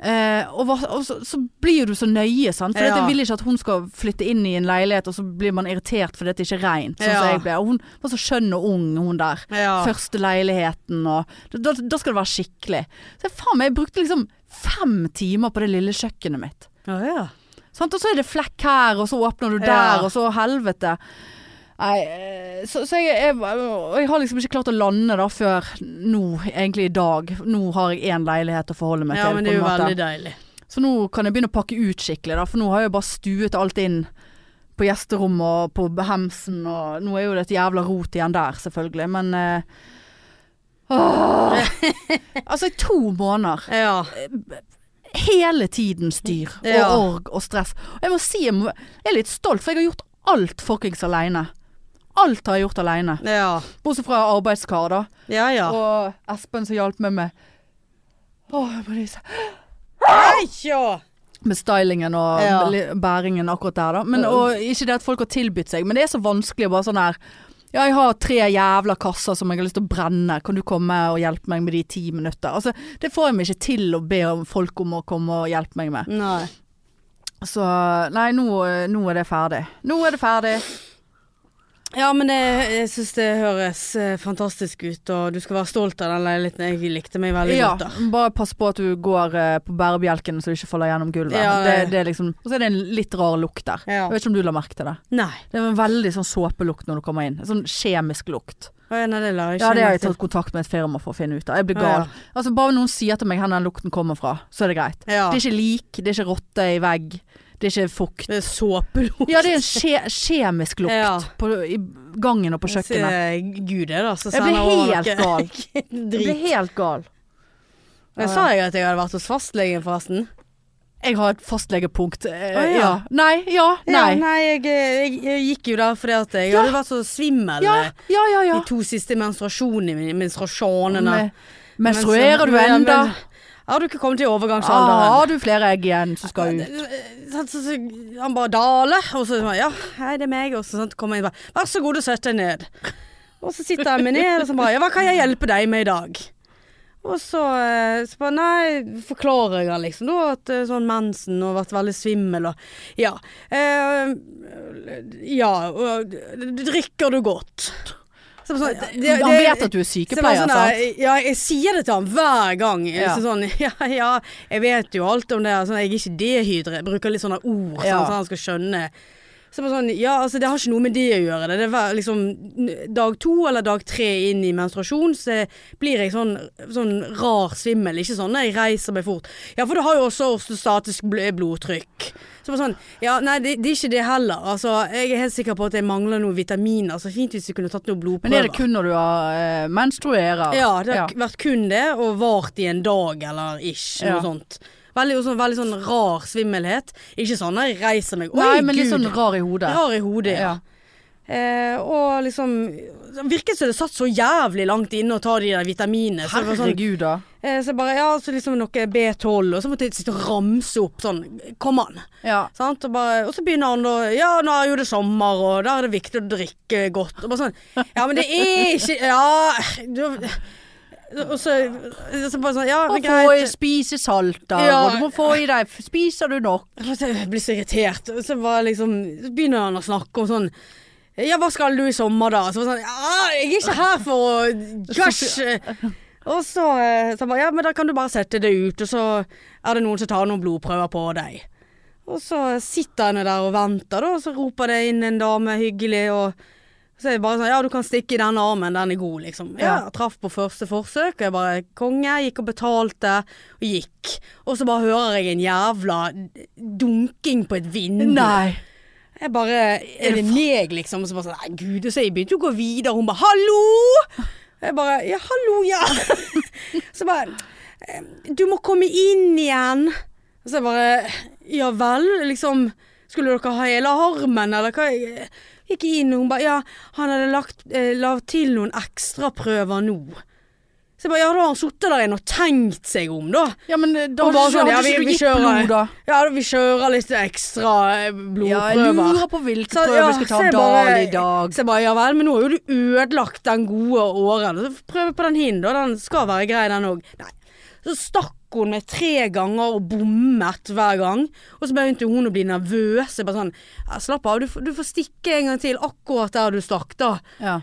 Eh, og vas- og så, så blir du så nøye, sant. For
Ja.
jeg vil ikke at hun skal flytte inn i en leilighet, og så blir man irritert fordi det ikke er reint. Sånn som
Ja.
jeg ble. Og hun var så skjønn og ung, hun der
Ja.
første leiligheten og da, da skal det være skikkelig. Så jeg, faen meg, jeg brukte liksom fem timer på det lille kjøkkenet mitt.
Å, ja.
Sant? Og så er det flekk her, og så åpner du der,
Ja.
og så helvete. Nei, eh, så, så jeg, jeg, og jeg har liksom ikke klart å lande da før nå, egentlig i dag. Nå har jeg én leilighet å forholde meg
ja,
til.
men
på
det er
en
jo
måte.
veldig deilig.
Så nå kan jeg begynne å pakke ut skikkelig, da, for nå har jeg bare stuet alt inn på gjesterommet og på hemsen, og nå er jo det et jævla rot igjen der, selvfølgelig, men eh, åh. Altså, i to måneder.
Ja.
Hele tiden styr og
Ja.
org og stress. Og jeg må si jeg, må, jeg er litt stolt, for jeg har gjort alt fuckings aleine. Alt har jeg gjort aleine.
Ja.
Bortsett fra arbeidskar, da.
Ja, ja.
Og Espen som hjalp meg med Åh, jeg må nyse.
Nei, ja.
med stylingen og
Ja.
li- bæringen akkurat der, da. Men, og ikke det at folk har tilbudt seg, men det er så vanskelig å bare sånn her ja, jeg har tre jævla kasser som jeg har lyst til å brenne. Kan du komme og hjelpe meg med de i ti minutter? Altså, det får jeg meg ikke til å be om folk om å komme og hjelpe meg med.
Nei.
Så nei, nå, nå er det ferdig. Nå er det ferdig.
Ja, men det, jeg syns det høres eh, fantastisk ut, og du skal være stolt av den leiligheten. Jeg likte meg veldig
Ja,
godt der.
bare pass på at du går eh, på bærebjelken så du ikke faller gjennom gulvet.
Ja,
det,
nei.
det er liksom, og så er det en litt rar lukt der.
Ja.
Jeg vet ikke om du la merke til det.
Nei.
Det er en veldig sånn såpelukt når du kommer inn. En sånn kjemisk lukt.
Å, ja, nei, det la jeg
Ja,
ikke
det har jeg
merke
tatt kontakt med et firma for å finne ut av. Jeg blir
Ja,
gal. Altså, bare noen sier til meg hvor den lukten kommer fra, så er det greit.
til. Ja.
Det er ikke lik, det er ikke rotte i vegg, det er ikke fukt.
Det er såpelukt.
Ja, det er en kje kjemisk lukt
Ja.
på, i gangen og på kjøkkenet.
Så, eh, Gud er det, altså.
Jeg blir helt
gal.
gal. Jeg blir
Drit.
helt gal.
Men sa jeg at jeg hadde vært hos fastlegen, forresten?
Jeg har et fastlegepunkt. Eh,
Å, ja.
ja. Nei, ja,
Ja,
nei.
nei jeg, jeg, jeg gikk jo der fordi at jeg
Ja.
hadde vært så svimmel
Ja,
eh,
ja, ja. ja.
de to siste menstruasjonene mine. Menstruasjonene.
Men- Menstruerer du
Ja, men-
enda? Ah,
Har du ikke kommet til overgangsalderen?
Har du flere egg igjen som skal ut?
Så, så, så, han bare daler, og så sånn, ja, hei, det er meg. Og så sånn, kommer jeg inn og bare, vær så god og sett deg ned. Og så sitter jeg meg ned og så bare, ja, hva kan jeg hjelpe deg med i dag? Og så, eh, så bare, nei, forklarer jeg han liksom da, at eh, sånn mensen og vært veldig svimmel og, ja. Eh, ja, og drikker du godt? Så bare sånn, det- det-
Han vet at du er
så jeg bare
sykepleier,
sånn,
sant?
der, Ja, jeg sier det til han hver gang.
Ja.
Så sånn, ja, ja, jeg vet jo alt om det. Sånn, jeg er ikke dehydrert. Jeg Bruker litt sånne ord sånn,
Ja.
så han skal skjønne. Så bare sånn, ja, altså Det har ikke noe med det å gjøre. Det er hver- liksom n- Dag to eller dag tre inn i menstruasjon så blir jeg sånn, sånn rar svimmel. Ikke sånn når jeg reiser meg fort. Ja, for du har jo også ortostatisk bl- blodtrykk. Så bare sånn, ja, Nei, det, det er ikke det heller. Altså, Jeg er helt sikker på at jeg mangler noen vitaminer. Så fint hvis vi kunne tatt noen blodprøver.
Men er det kun når du har eh, menstruerer?
Ja, det har k- vært kun det, og vart i en dag eller ish, noe
Ja.
sånt. Veldig, sånn, veldig sånn rar svimmelhet. Ikke sånn at jeg reiser meg Oi,
Nei, men
gud!
litt sånn rar i hodet.
rar i hodet, ja.
Ja.
Eh, og liksom det Virket som det satt så jævlig langt inne å ta de der vitaminene. Så det var sånn,
Herregud, da.
eh, så jeg bare Ja, så liksom noe B12, og så måtte jeg sitte og ramse opp sånn Kom an.
Ja.
Sant? Og, bare, og så begynner han da Ja, nå er jo det sommer, og da er det viktig å drikke godt. Og bare sånn Ja, men det er ikke Ja du, Og så, så bare sånn Ja,
Og
men
få
greit.
i- spise salt, da.
Ja.
Og du må få i deg Spiser du nok?
Jeg blir så irritert. Og Så, var jeg liksom, så begynner han å snakke om sånn Ja, hva skal du i sommer, da? Så var jeg sånn Ja, jeg er ikke her for å Gosh! Og så, eh, så han bare Ja, men da kan du bare sette det ut, og så er det noen som tar noen blodprøver på deg. Og så sitter han der og venter, da, og så roper det inn en dame hyggelig, og så er det bare sånn Ja, du kan stikke i den armen, den er god, liksom. Ja,
Ja.
traff på første forsøk, og jeg bare Konge. Gikk og betalte, og gikk. Og så bare hører jeg en jævla dunking på et vindu. Jeg bare Er det meg, liksom? Og så bare sånn Nei, gud. Og så jeg begynte jo å gå videre, og hun bare Hallo! Jeg bare Ja, hallo, ja. så bare «Eh, Du må komme inn igjen. Og så jeg bare Ja vel, liksom. Skulle dere ha hele armen, eller hva? Jeg gikk inn, og hun bare Ja, han hadde lagt eh, la til noen ekstraprøver nå. Så jeg bare Ja, da har han sittet der inne og tenkt seg om, da.
Ja, men eh, da
Og bare
hadde
sånn,
ikke
ja, vi-
du
vi
gitt
kjører.
blod, da.
Ja, vi kjører litt ekstra eh,
Ja, jeg
blodprøver.
lurer på hvilke
Så-
prøver
ja,
vi skal ta
så jeg
Dahl
bare-
i dag.
Så jeg bare, ja vel, men nå har jo du ødelagt den gode åren. Så prøv på den hin, da. Den skal være grei, den òg. Nei. Så stakk hun meg tre ganger og bommet hver gang. Og så begynte hun å bli nervøs. Jeg bare sånn, ja, slapp av, du, får- du får stikke en gang til akkurat der du stakk, da.
Ja.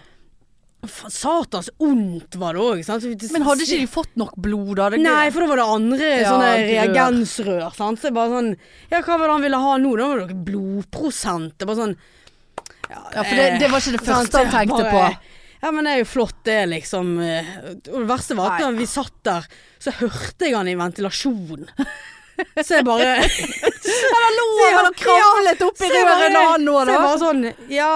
Fa- Satans ondt var det òg.
Men hadde ikke de fått nok blod, da? Det-
Nei, for da var det andre
Ja,
sånne
rør.
reagensrør. Sant? Så jeg bare sånn Ja, hva var det han ville ha nå? Da var det noe blodprosent. Det er bare sånn
Ja, for det, det var ikke
eh,
det første han tenkte på.
Ja, men det er jo flott, det, liksom. eh, Og det verste var at
Nei.
når vi satt der, så hørte jeg han i ventilasjon. Så jeg bare
Han lå han har kravlet opp i
Så jeg
røret når
bare-
han nå,
Så
da.
jeg bare sånn Ja,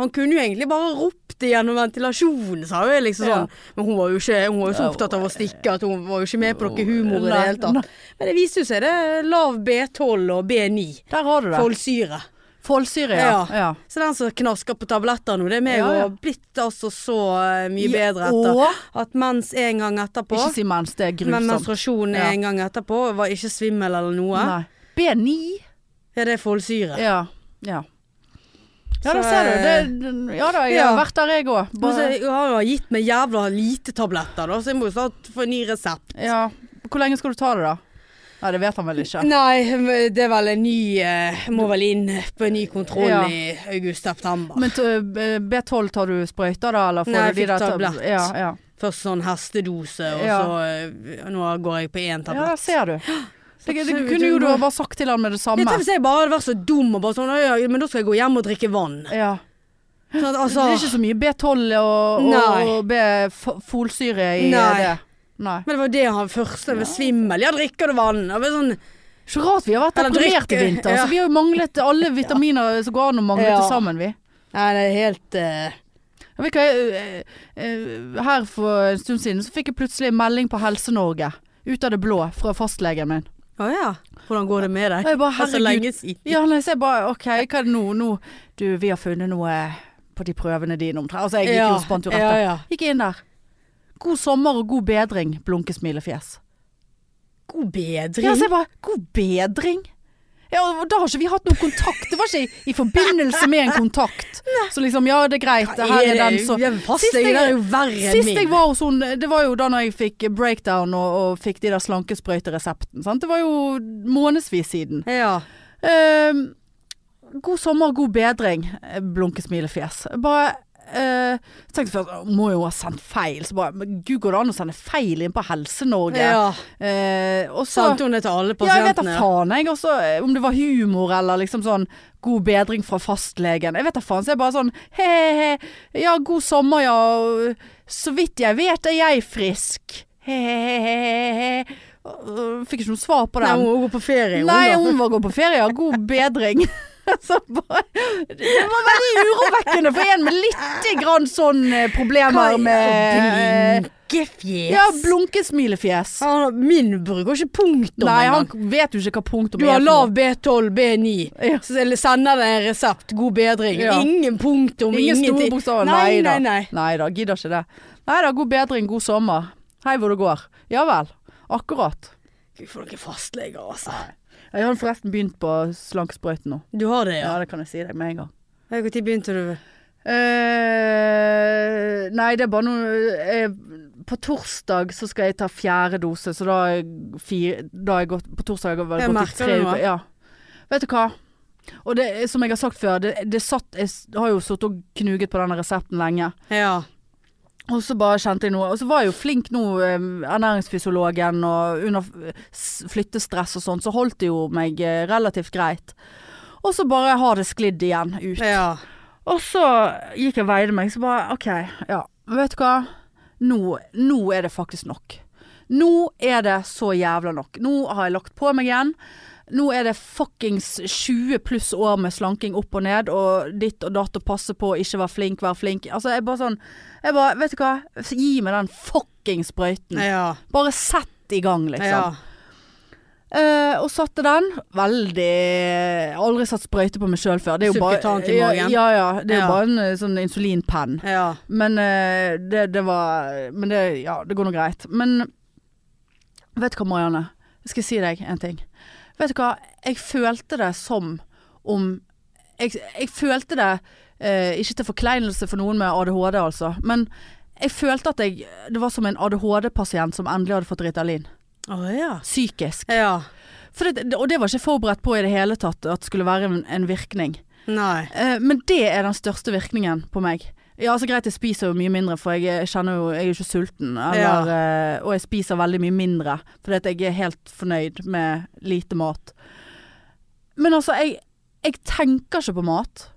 han kunne jo egentlig bare ropt det gjennom ventilasjonen, sa jeg liksom
Ja.
sånn. Men hun var jo ikke hun var jo så
Ja,
opptatt av å stikke at hun var jo ikke med på noe humor i det
Nei,
hele tatt.
nei.
Men det viste jo seg det. Lav B12 og B9.
Der har du det.
Folsyre.
Foldsyre, ja.
Ja.
ja.
Så den som knasker på tabletter nå, det er meg
Ja, ja.
og har blitt altså så eh, mye
I
bedre etter.
år?
At mens en gang etterpå
Ikke si mens, det er
men
grusomt.
menstruasjon
Ja.
en gang etterpå var ikke svimmel eller noe.
Nei. B9?
Ja, det er folsyre.
Ja. Ja, ja
Så, eh,
da ser du. Det, ja da, jeg
ja.
har vært der jeg òg.
Men så jeg har jo gitt meg jævla lite tabletter, da, så jeg må jo snart få en ny resept.
Ja. Hvor lenge skal du ta det, da? Nei, det vet han vel ikke.
Nei, det er vel en ny eh, Må vel inn på en ny kontroll
Ja.
i august-september.
Men eh, B12 tar du sprøyter da, eller får du
Nei,
de
jeg fikk
der tab-
tablett.
Ja, ja.
Først sånn hestedose, og
Ja.
så eh, Nå går jeg på én
ja,
tablett.
ser du. Det, det,
absolutt.
kunne jo du ha bare sagt til han med det
Ja,
samme.
Tenk hvis jeg bare hadde vært så dum og bare sånn «Å, ja, Men da skal jeg gå hjem og drikke vann.
Ja.
Sånn at,
Det
altså,
er ikke så mye B12 og,
Nei.
og, og B-folsyre i eh,
Nei.
det. Nei.
men det var det han første ved svimmel. Ja, drikker du vann? Og bare sånn,
Så rart vi har vært
Eller
deprimert i
drikke,
vinter.
ja.
Så vi har jo manglet alle vitaminer som går an å mangle
Ja.
til sammen, vi.
Nei, det er helt eh,
Jeg vet ikke, jeg, eh, eh, her for en stund siden så fikk jeg plutselig en melding på Helse-Norge. Ut av det blå fra fastlegen min.
Å ja. Hvordan går det med deg?
Og jeg bare,
Det er så
herregud.
lenge siden.
Ja, nei, så jeg bare OK, hva er det nå? nå? Du, vi har funnet noe på de prøvene dine omtrent. Altså, jeg gikk jo og spant jo rett
ja,
der.
ja.
Gikk inn der. God sommer og god bedring, blunke smilefjes.
God bedring.
Ja, altså, så jeg bare God bedring? Ja, og da har ikke vi hatt noen kontakt. Det var ikke i, i forbindelse med en kontakt. Så liksom, ja det er greit,
Hva
her
er
er
det?
den som
Ja, fastlegen
Sist jeg-
er jo verre enn
Sist
min.
jeg var hos henne, det var jo da når jeg fikk breakdown og, og fikk de der slankesprøyteresepten. Sant? Det var jo månedsvis siden.
Ja.
Ehm, god sommer, god bedring, blunke smilefjes. Bare eh, tenkte først, «Å, må jo ha sendt feil. Så bare, men gud går det an å sende feil inn på Helse-Norge?
ja.
Eh, og så
Sendte hun det til alle
ja, jeg vet da
pasientene?
faen jeg også, eh, om det var humor eller liksom sånn god bedring fra fastlegen. Jeg vet da faen, så jeg bare sånn he-he, ja god sommer ja, og så vidt jeg vet er jeg frisk. He-he-he. Fikk ikke noe svar på
Nei,
den.
hun går på ferie.
Nei,
hun,
hun var gått på ferie, ja, god bedring. Så bare, det var veldig urovekkende for en med lite grann sånn eh, problemer med
Blinkefjes.
Ja, blunkesmilefjes.
Han- min bruker ikke punktum.
Nei,
engang.
han vet jo ikke hva punktum
Du
er.
har
for noe.
lav B12, B9.
Ja.
Så eller sender deg en resept. God bedring.
Ja.
Ingen punktum,
Ingen store
ingenting.
bokstaver.
Nei,
Nei,
nei, nei.
da. Nei da, gidder ikke det. Nei da, god bedring, god sommer. Hei hvor det går. Ja vel. Akkurat.
Gud, for noen fastleger, altså.
Jeg har forresten begynt på slankesprøyten nå.
Du har det, ja?
Ja, det kan jeg si deg med en gang.
Når begynte du?
Eh, nei, det er bare noe eh, På torsdag så skal jeg ta fjerde dose, så da har jeg fire Da har jeg gått På torsdag har jeg
Jeg
vel gått i
merker
tre
det nå.
uker. Ja. Vet du hva? Og det, er- som jeg har sagt før, det, det satt Jeg s- har jo sittet og knuget på denne resepten lenge.
Ja.
Og så bare kjente jeg noe. Og så var jeg jo flink nå, eh, ernæringsfysiologen, og under f- s- flyttestress og sånn, så holdt det jo meg eh, relativt greit. Og så bare har det sklidd igjen ut.
ja.
Og så gikk jeg og veide meg, så bare OK, ja. Vet du hva? Nå, nå er det faktisk nok. Nå er det så jævla nok. Nå har jeg lagt på meg igjen. Nå er det fuckings 20 pluss år med slanking opp og ned, og ditt og datt og passe på, ikke være flink, være flink. Altså, jeg bare sånn Jeg bare, vet du hva, gi meg den fuckings sprøyten.
Ja.
Bare sett i gang, liksom.
ja.
Eh, og satte den. Veldig Aldri satt sprøyte på meg sjøl før. Det er jo bare,
Subkutant i magen.
Ja, ja, ja, det er jo
Ja.
bare en eh, sånn insulinpenn.
ja.
Men eh, det, det var Men det, ja, det går nå greit. Men vet du hva, Marianne? Jeg skal si deg en ting. Vet du hva, jeg følte det som om Jeg, jeg følte det eh, Ikke til forkleinelse for noen med ADHD, altså, men jeg følte at jeg Det var som en ADHD-pasient som endelig hadde fått Ritalin.
Å ja.
Psykisk.
Ja.
For det, og det var ikke forberedt på i det hele tatt at det skulle være en, en virkning.
Nei.
Eh, men det er den største virkningen på meg. Ja, altså greit, jeg spiser jo mye mindre, for jeg eh, kjenner jo Jeg er jo ikke sulten. Eller, eh, og jeg spiser veldig mye mindre, fordi at jeg er helt fornøyd med lite mat. Men altså, jeg, jeg tenker ikke på mat.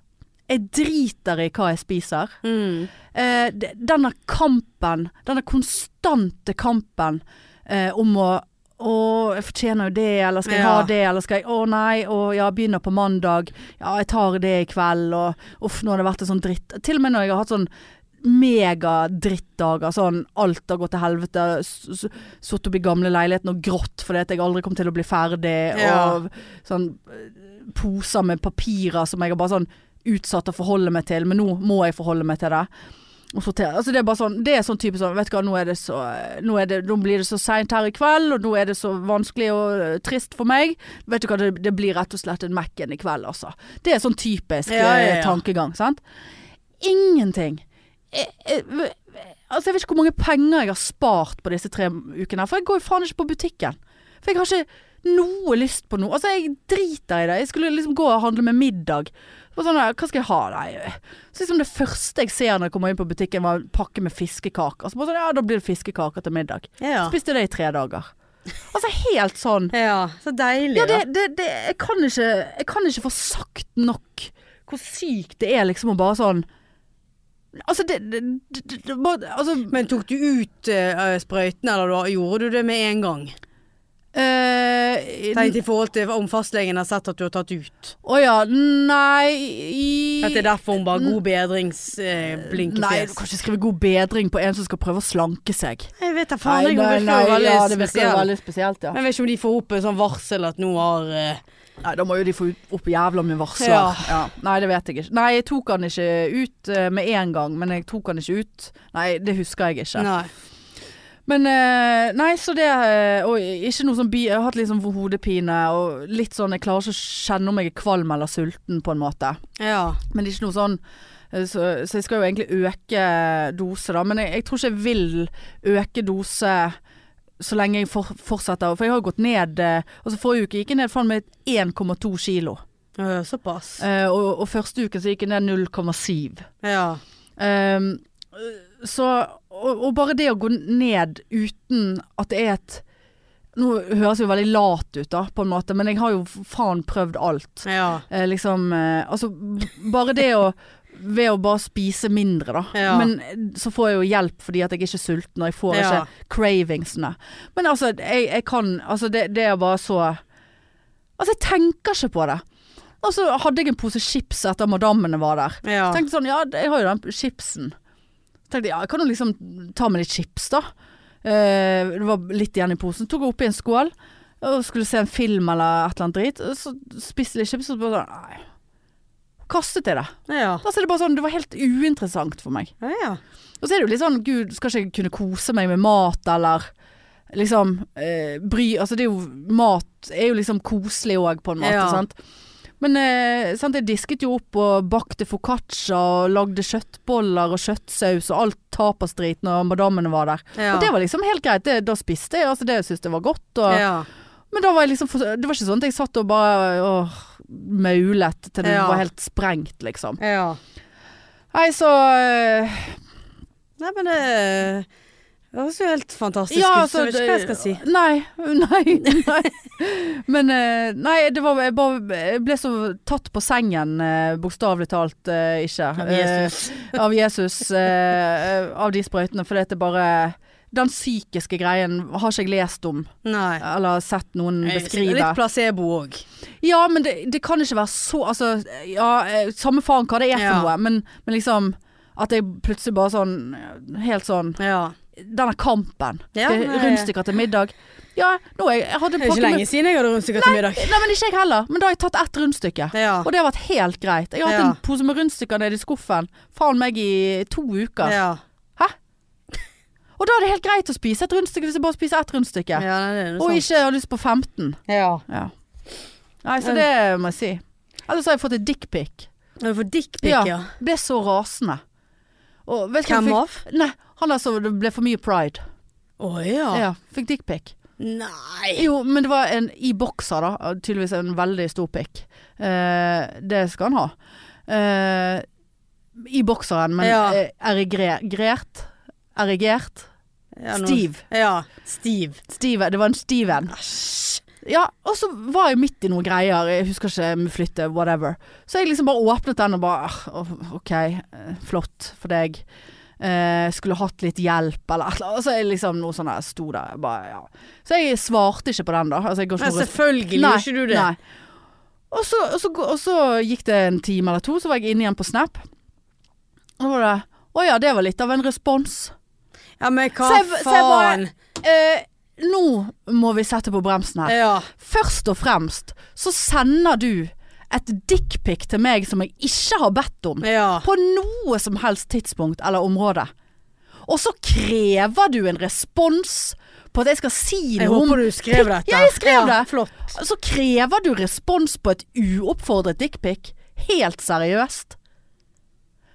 Jeg driter i hva jeg spiser.
Mm.
Eh, d- denne kampen, denne konstante kampen eh, om å å, jeg fortjener jo det, eller skal jeg
Ja.
ha det, eller skal jeg Å nei, å ja, begynner på mandag. Ja, jeg tar det i kveld, og uff, nå har det vært en sånn dritt. Til og med når jeg har hatt sånn megadrittdager, sånn alt har gått til helvete, sittet oppe i gamle leiligheten og grått fordi at jeg aldri kom til å bli ferdig,
Ja.
og sånn eh, poser med papirer som jeg har bare sånn utsatt å forholde meg til, men nå må jeg forholde meg til det. Og sortere. Altså det er bare sånn, det er sånn type sånn, vet du hva, nå, er det så, nå, er det, nå blir det så seint her i kveld, og nå er det så vanskelig og eh, trist for meg. Vet du hva, det, det blir rett og slett en Mac-en i kveld, altså. Det er sånn typisk
Ja, ja,
eh,
ja.
tankegang, sant. Ingenting. Jeg, jeg, Eh, altså jeg vet ikke hvor mange penger jeg har spart på disse tre ukene, her, for jeg går jo faen ikke på butikken. For jeg har ikke noe lyst på noe. Altså, jeg driter i det. Jeg skulle liksom gå og handle med middag. Det var Sånn, ja, hva skal jeg ha? Nei. Så liksom det første jeg ser når jeg kommer inn på butikken, var en pakke med fiskekaker. Så bare sånn, ja, da blir det fiskekaker til middag.
Ja.
Spiste det i tre dager. Altså helt sånn.
ja. Så deilig,
Ja,
da.
det, det, det jeg, kan ikke, jeg kan ikke få sagt nok hvor sykt det er liksom å bare sånn Altså, det, det, det, det, det bare, altså,
Men tok du ut eh, sprøyten, eller da, gjorde du det med en gang?
eh,
Tenk i forhold til om fastlegen har sett at du har tatt ut.
Å ja, nei
At det er derfor hun bare god eh, bedringsblinkefjes.
Nei, du kan ikke skrive god bedring på en som skal prøve å slanke seg.
Jeg vet da faen, jeg virker jo veldig
ja, det virker jo
spesiell.
veldig spesielt, ja.
Men Jeg vet ikke om de får opp en sånn varsel at nå har eh,
Nei, da må jo de få ut- opp jævla mye varsler.
Ja.
Nei, det vet jeg ikke. Nei, jeg tok han ikke ut eh, med en gang, men jeg tok han ikke ut. Nei, det husker jeg ikke.
Nei.
Men eh, Nei, så det eh, Og ikke noe sånn bi... Jeg har hatt litt sånn hodepine og litt sånn Jeg klarer ikke å kjenne om jeg er kvalm eller sulten, på en måte.
Ja.
Men det er ikke noe sånn eh, så, så jeg skal jo egentlig øke dose, da. Men jeg, jeg tror ikke jeg vil øke dose så lenge jeg for, fortsetter. For jeg har jo gått ned eh, Altså forrige uke gikk jeg ned faen meg 1,2 kilo.
Øh, Såpass.
Eh, og, og første uken så gikk jeg ned 0,7.
Ja.
Ehm, så og, og bare det å gå ned uten at det er et Nå høres jeg jo veldig lat ut, da, på en måte, men jeg har jo faen prøvd alt.
Ja.
Eh, liksom eh, Altså, b- bare det å Ved å bare spise mindre, da.
Ja.
Men eh, så får jeg jo hjelp fordi at jeg ikke er sulten, og jeg får
Ja.
ikke cravingsene. Men altså, jeg, jeg kan Altså, det, det er bare så Altså, jeg tenker ikke på det. Og så hadde jeg en pose chips etter madammene var der.
Ja.
Jeg Tenkte sånn, ja, jeg har jo den chipsen. Tenkte, ja, jeg kan jo liksom ta med litt chips da. Eh, det var litt igjen i posen. Tok opp i en skål, og skulle se en film eller et eller annet drit. Og Så spiste jeg litt chips, og så bare sånn, nei. Kastet jeg det.
Ja.
Da er det bare sånn, det var helt uinteressant for meg.
Ja, ja.
Og så er det jo litt sånn, gud, skal ikke jeg kunne kose meg med mat, eller liksom eh, bry Altså det er jo Mat er jo liksom koselig òg, på en måte,
Ja.
sant. Men eh, sant, jeg disket jo opp og bakte foccaccia og lagde kjøttboller og kjøttsaus og alt tapasdrit når madammene var der.
ja.
Og det var liksom helt greit. Det, da spiste jeg, altså det syntes jeg var godt. Og,
ja.
Men da var jeg liksom for, Det var ikke sånn at jeg satt og bare åh, maulet til det
Ja.
var helt sprengt, liksom.
ja.
Nei, så eh,
Nei, men det eh, det høres jo helt fantastisk ut, så altså, jeg vet ikke hva jeg skal si.
altså, Nei, nei, nei. Men eh, nei, det var jeg, bare, jeg ble så tatt på sengen, eh, bokstavelig talt eh, ikke. Eh, av Jesus. eh, av de sprøytene. For det er bare Den psykiske greien har ikke jeg lest om
Nei.
eller sett noen beskrive.
Litt placebo òg.
Ja, men det, det kan ikke være så Altså, ja, eh, samme faen hva det er for
Ja.
noe, men, men liksom at jeg plutselig bare sånn Helt sånn
Ja.
denne kampen.
Ja,
Skal jeg
nei.
rundstykker til middag. Ja, nå jeg, jeg hadde
Det er jo
pakket
ikke
med-
lenge siden jeg hadde rundstykker til middag.
Nei, men ikke jeg heller. Men da har jeg tatt ett rundstykke.
Ja.
Og det har vært helt greit. Jeg har hatt
Ja.
en pose med rundstykker nede i skuffen faen meg i to uker.
Ja.
Og da er det helt greit å spise et rundstykke hvis jeg bare spiser ett rundstykke.
ja, nei, det er noe
Og
sånt.
ikke har lyst på 15.
Ja.
Ja. Nei, så det må jeg si. Ellers har jeg fått et dickpic.
Når du får dickpic, ja.
Ble så rasende. Og vet du hva jeg
Hvem
fikk-
av?
Nei, han der som det ble for mye pride.
Å ja.
Ja, fikk dickpic.
Nei.
Jo, men det var en i bokser da Tydeligvis en veldig stor pikk eh, Det skal han ha eh, I bokseren Men
Ja.
eh, erigert Erigert
Ja, nå-
Stiv
Ja. Stiv.
Stive, det var en stiven
Æsj.
Ja, og så var jeg midt i noen greier Jeg husker ikke med flytte, whatever Så jeg liksom bare åpnet den og bare «Ah, Ok, eh, flott for deg eh, Skulle hatt litt hjelp Eller et eller annet Så jeg liksom noe sånn der Stod der bare, ja. Så jeg svarte ikke på den da altså, jeg går ikke
Nei,
noe-
selvfølgelig gjør ikke du det.
Nei. Og så, og, så, og så gikk det en time eller to, så var jeg inne igjen på Snap. Og da var det Å ja, det var litt av en respons.
Ja, men hva
Så jeg- så jeg
faen?
bare- Eh, nå må vi sette på bremsen her.
Ja.
Først og fremst så sender du et dickpic til meg som jeg ikke har bedt om.
Ja.
På noe som helst tidspunkt eller område. Og så krever du en respons på at jeg skal si
Jeg
noe om
håper du skrev dette.
Ja, jeg skrev
Ja,
det.
Flott.
Så krever du respons på et uoppfordret dickpic? Helt seriøst?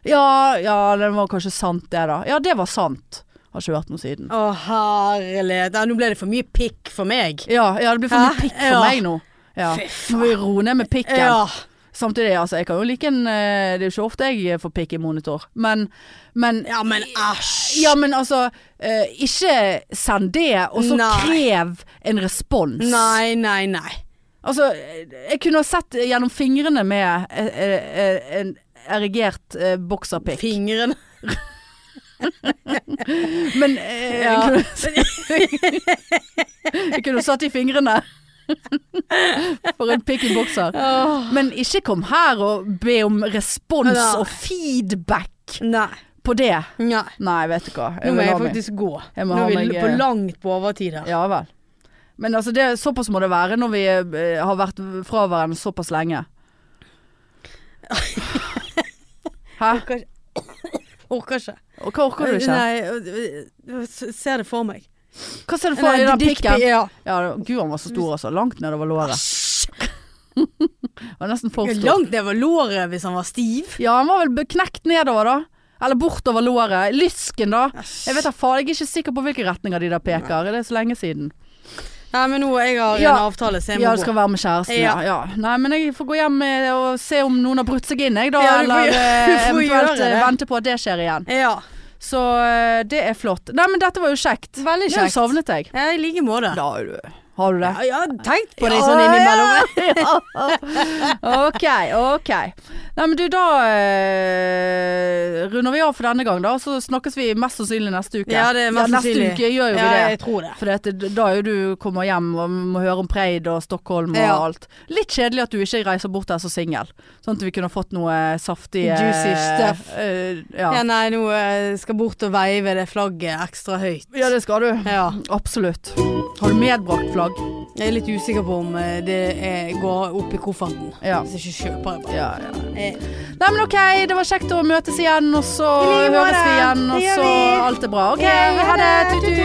Ja, ja, det var kanskje sant det da. Ja, det var sant. Har ikke hørt noe siden.
Å herlighet. Ja, nå ble det for mye pikk for meg.
Ja, ja det blir for mye
Hæ?
pikk for
Ja.
meg nå. Ja.
Fy
Må vi roe ned med pikken.
Ja.
Samtidig, altså, jeg kan jo like en eh, Det er jo ikke ofte jeg får pikk i monitor, men, men
Ja, men æsj.
Ja, men altså, eh, ikke send det, og så
Nei.
krev en respons.
Nei, nei, nei.
Altså, jeg kunne ha sett gjennom fingrene med eh, eh, en erigert eh, bokserpikk.
Fingrene
Men eh,
Ja.
jeg, kunne, jeg kunne ha satt i fingrene for en pikk i bokser.
Åh.
Men ikke kom her og be om respons
Nei.
og feedback
Nei.
på det.
nei.
Nei, vet du hva.
Nå må
vil
jeg
ha meg.
faktisk gå.
Jeg må
Nå
ha
er vi
meg,
på
eh,
langt på overtid her.
Ja vel. Men altså, det, såpass må det være når vi eh, har vært fra hverandre såpass lenge. Hæ?
Orker ikke. Orker ikke.
Og hva orker du ikke?
Nei, jeg ser det for meg.
Hva ser du for deg i den
dick pic-
pikken?
Ja.
Ja, det- gud han var så stor altså. Langt nedover låret. Han var nesten for stor.
Langt nedover låret hvis han var stiv.
Ja, han var vel knekt nedover da. Eller bortover låret. Lysken da. Jeg vet da faen, jeg er ikke sikker på hvilke retninger de der peker. Det er så lenge siden.
Nei, men nå jeg har
Ja.
en avtale, så jeg må
Ja, du skal
gå.
være med kjæresten, ja.
Ja.
ja. Nei, men jeg får gå hjem eh, og se om noen har brutt seg inn, jeg da.
Ja, du får
eller
gjøre-
eh,
du får
eventuelt
gjøre
eh,
det.
vente på at det skjer igjen.
Ja.
Så eh, det er flott. Nei, men dette var jo kjekt.
Veldig
Nå
kjekt.
savnet jeg.
Ja, I like måte.
Da er du Har du det?
Ja, jeg har tenkt på det sånn innimellom.
ok, ok. Nei, men du, da eh, runder vi av for denne gang, da. og Så snakkes vi mest sannsynlig neste uke.
Ja, det er mest sannsynlig.
Neste uke gjør jo
Ja,
vi
jeg
det.
tror det.
For dette- da er jo du kommer hjem og må høre om Preid og Stockholm og
Ja.
alt. Litt kjedelig at du ikke reiser bort der som singel. Sånn at vi kunne fått noe saftig eh,
Juicy stuff.
eh,
Ja.
ja.
nei, nå eh, skal jeg bort og veive det flagget ekstra høyt.
ja, det skal du.
Ja.
Absolutt. Har du medbrakt flagg?
Jeg er litt usikker på om eh, det er, går opp i kofferten.
Ja.
Hvis ikke kjøper jeg bare.
Ja, ja.
Eh,
Nei, men ok, det var kjekt å møtes igjen, og så
I like måte.
høres vi igjen, og
Det gjør
så
vi.
alt er bra. Ok,
Ja,
ha det. Tut, tut.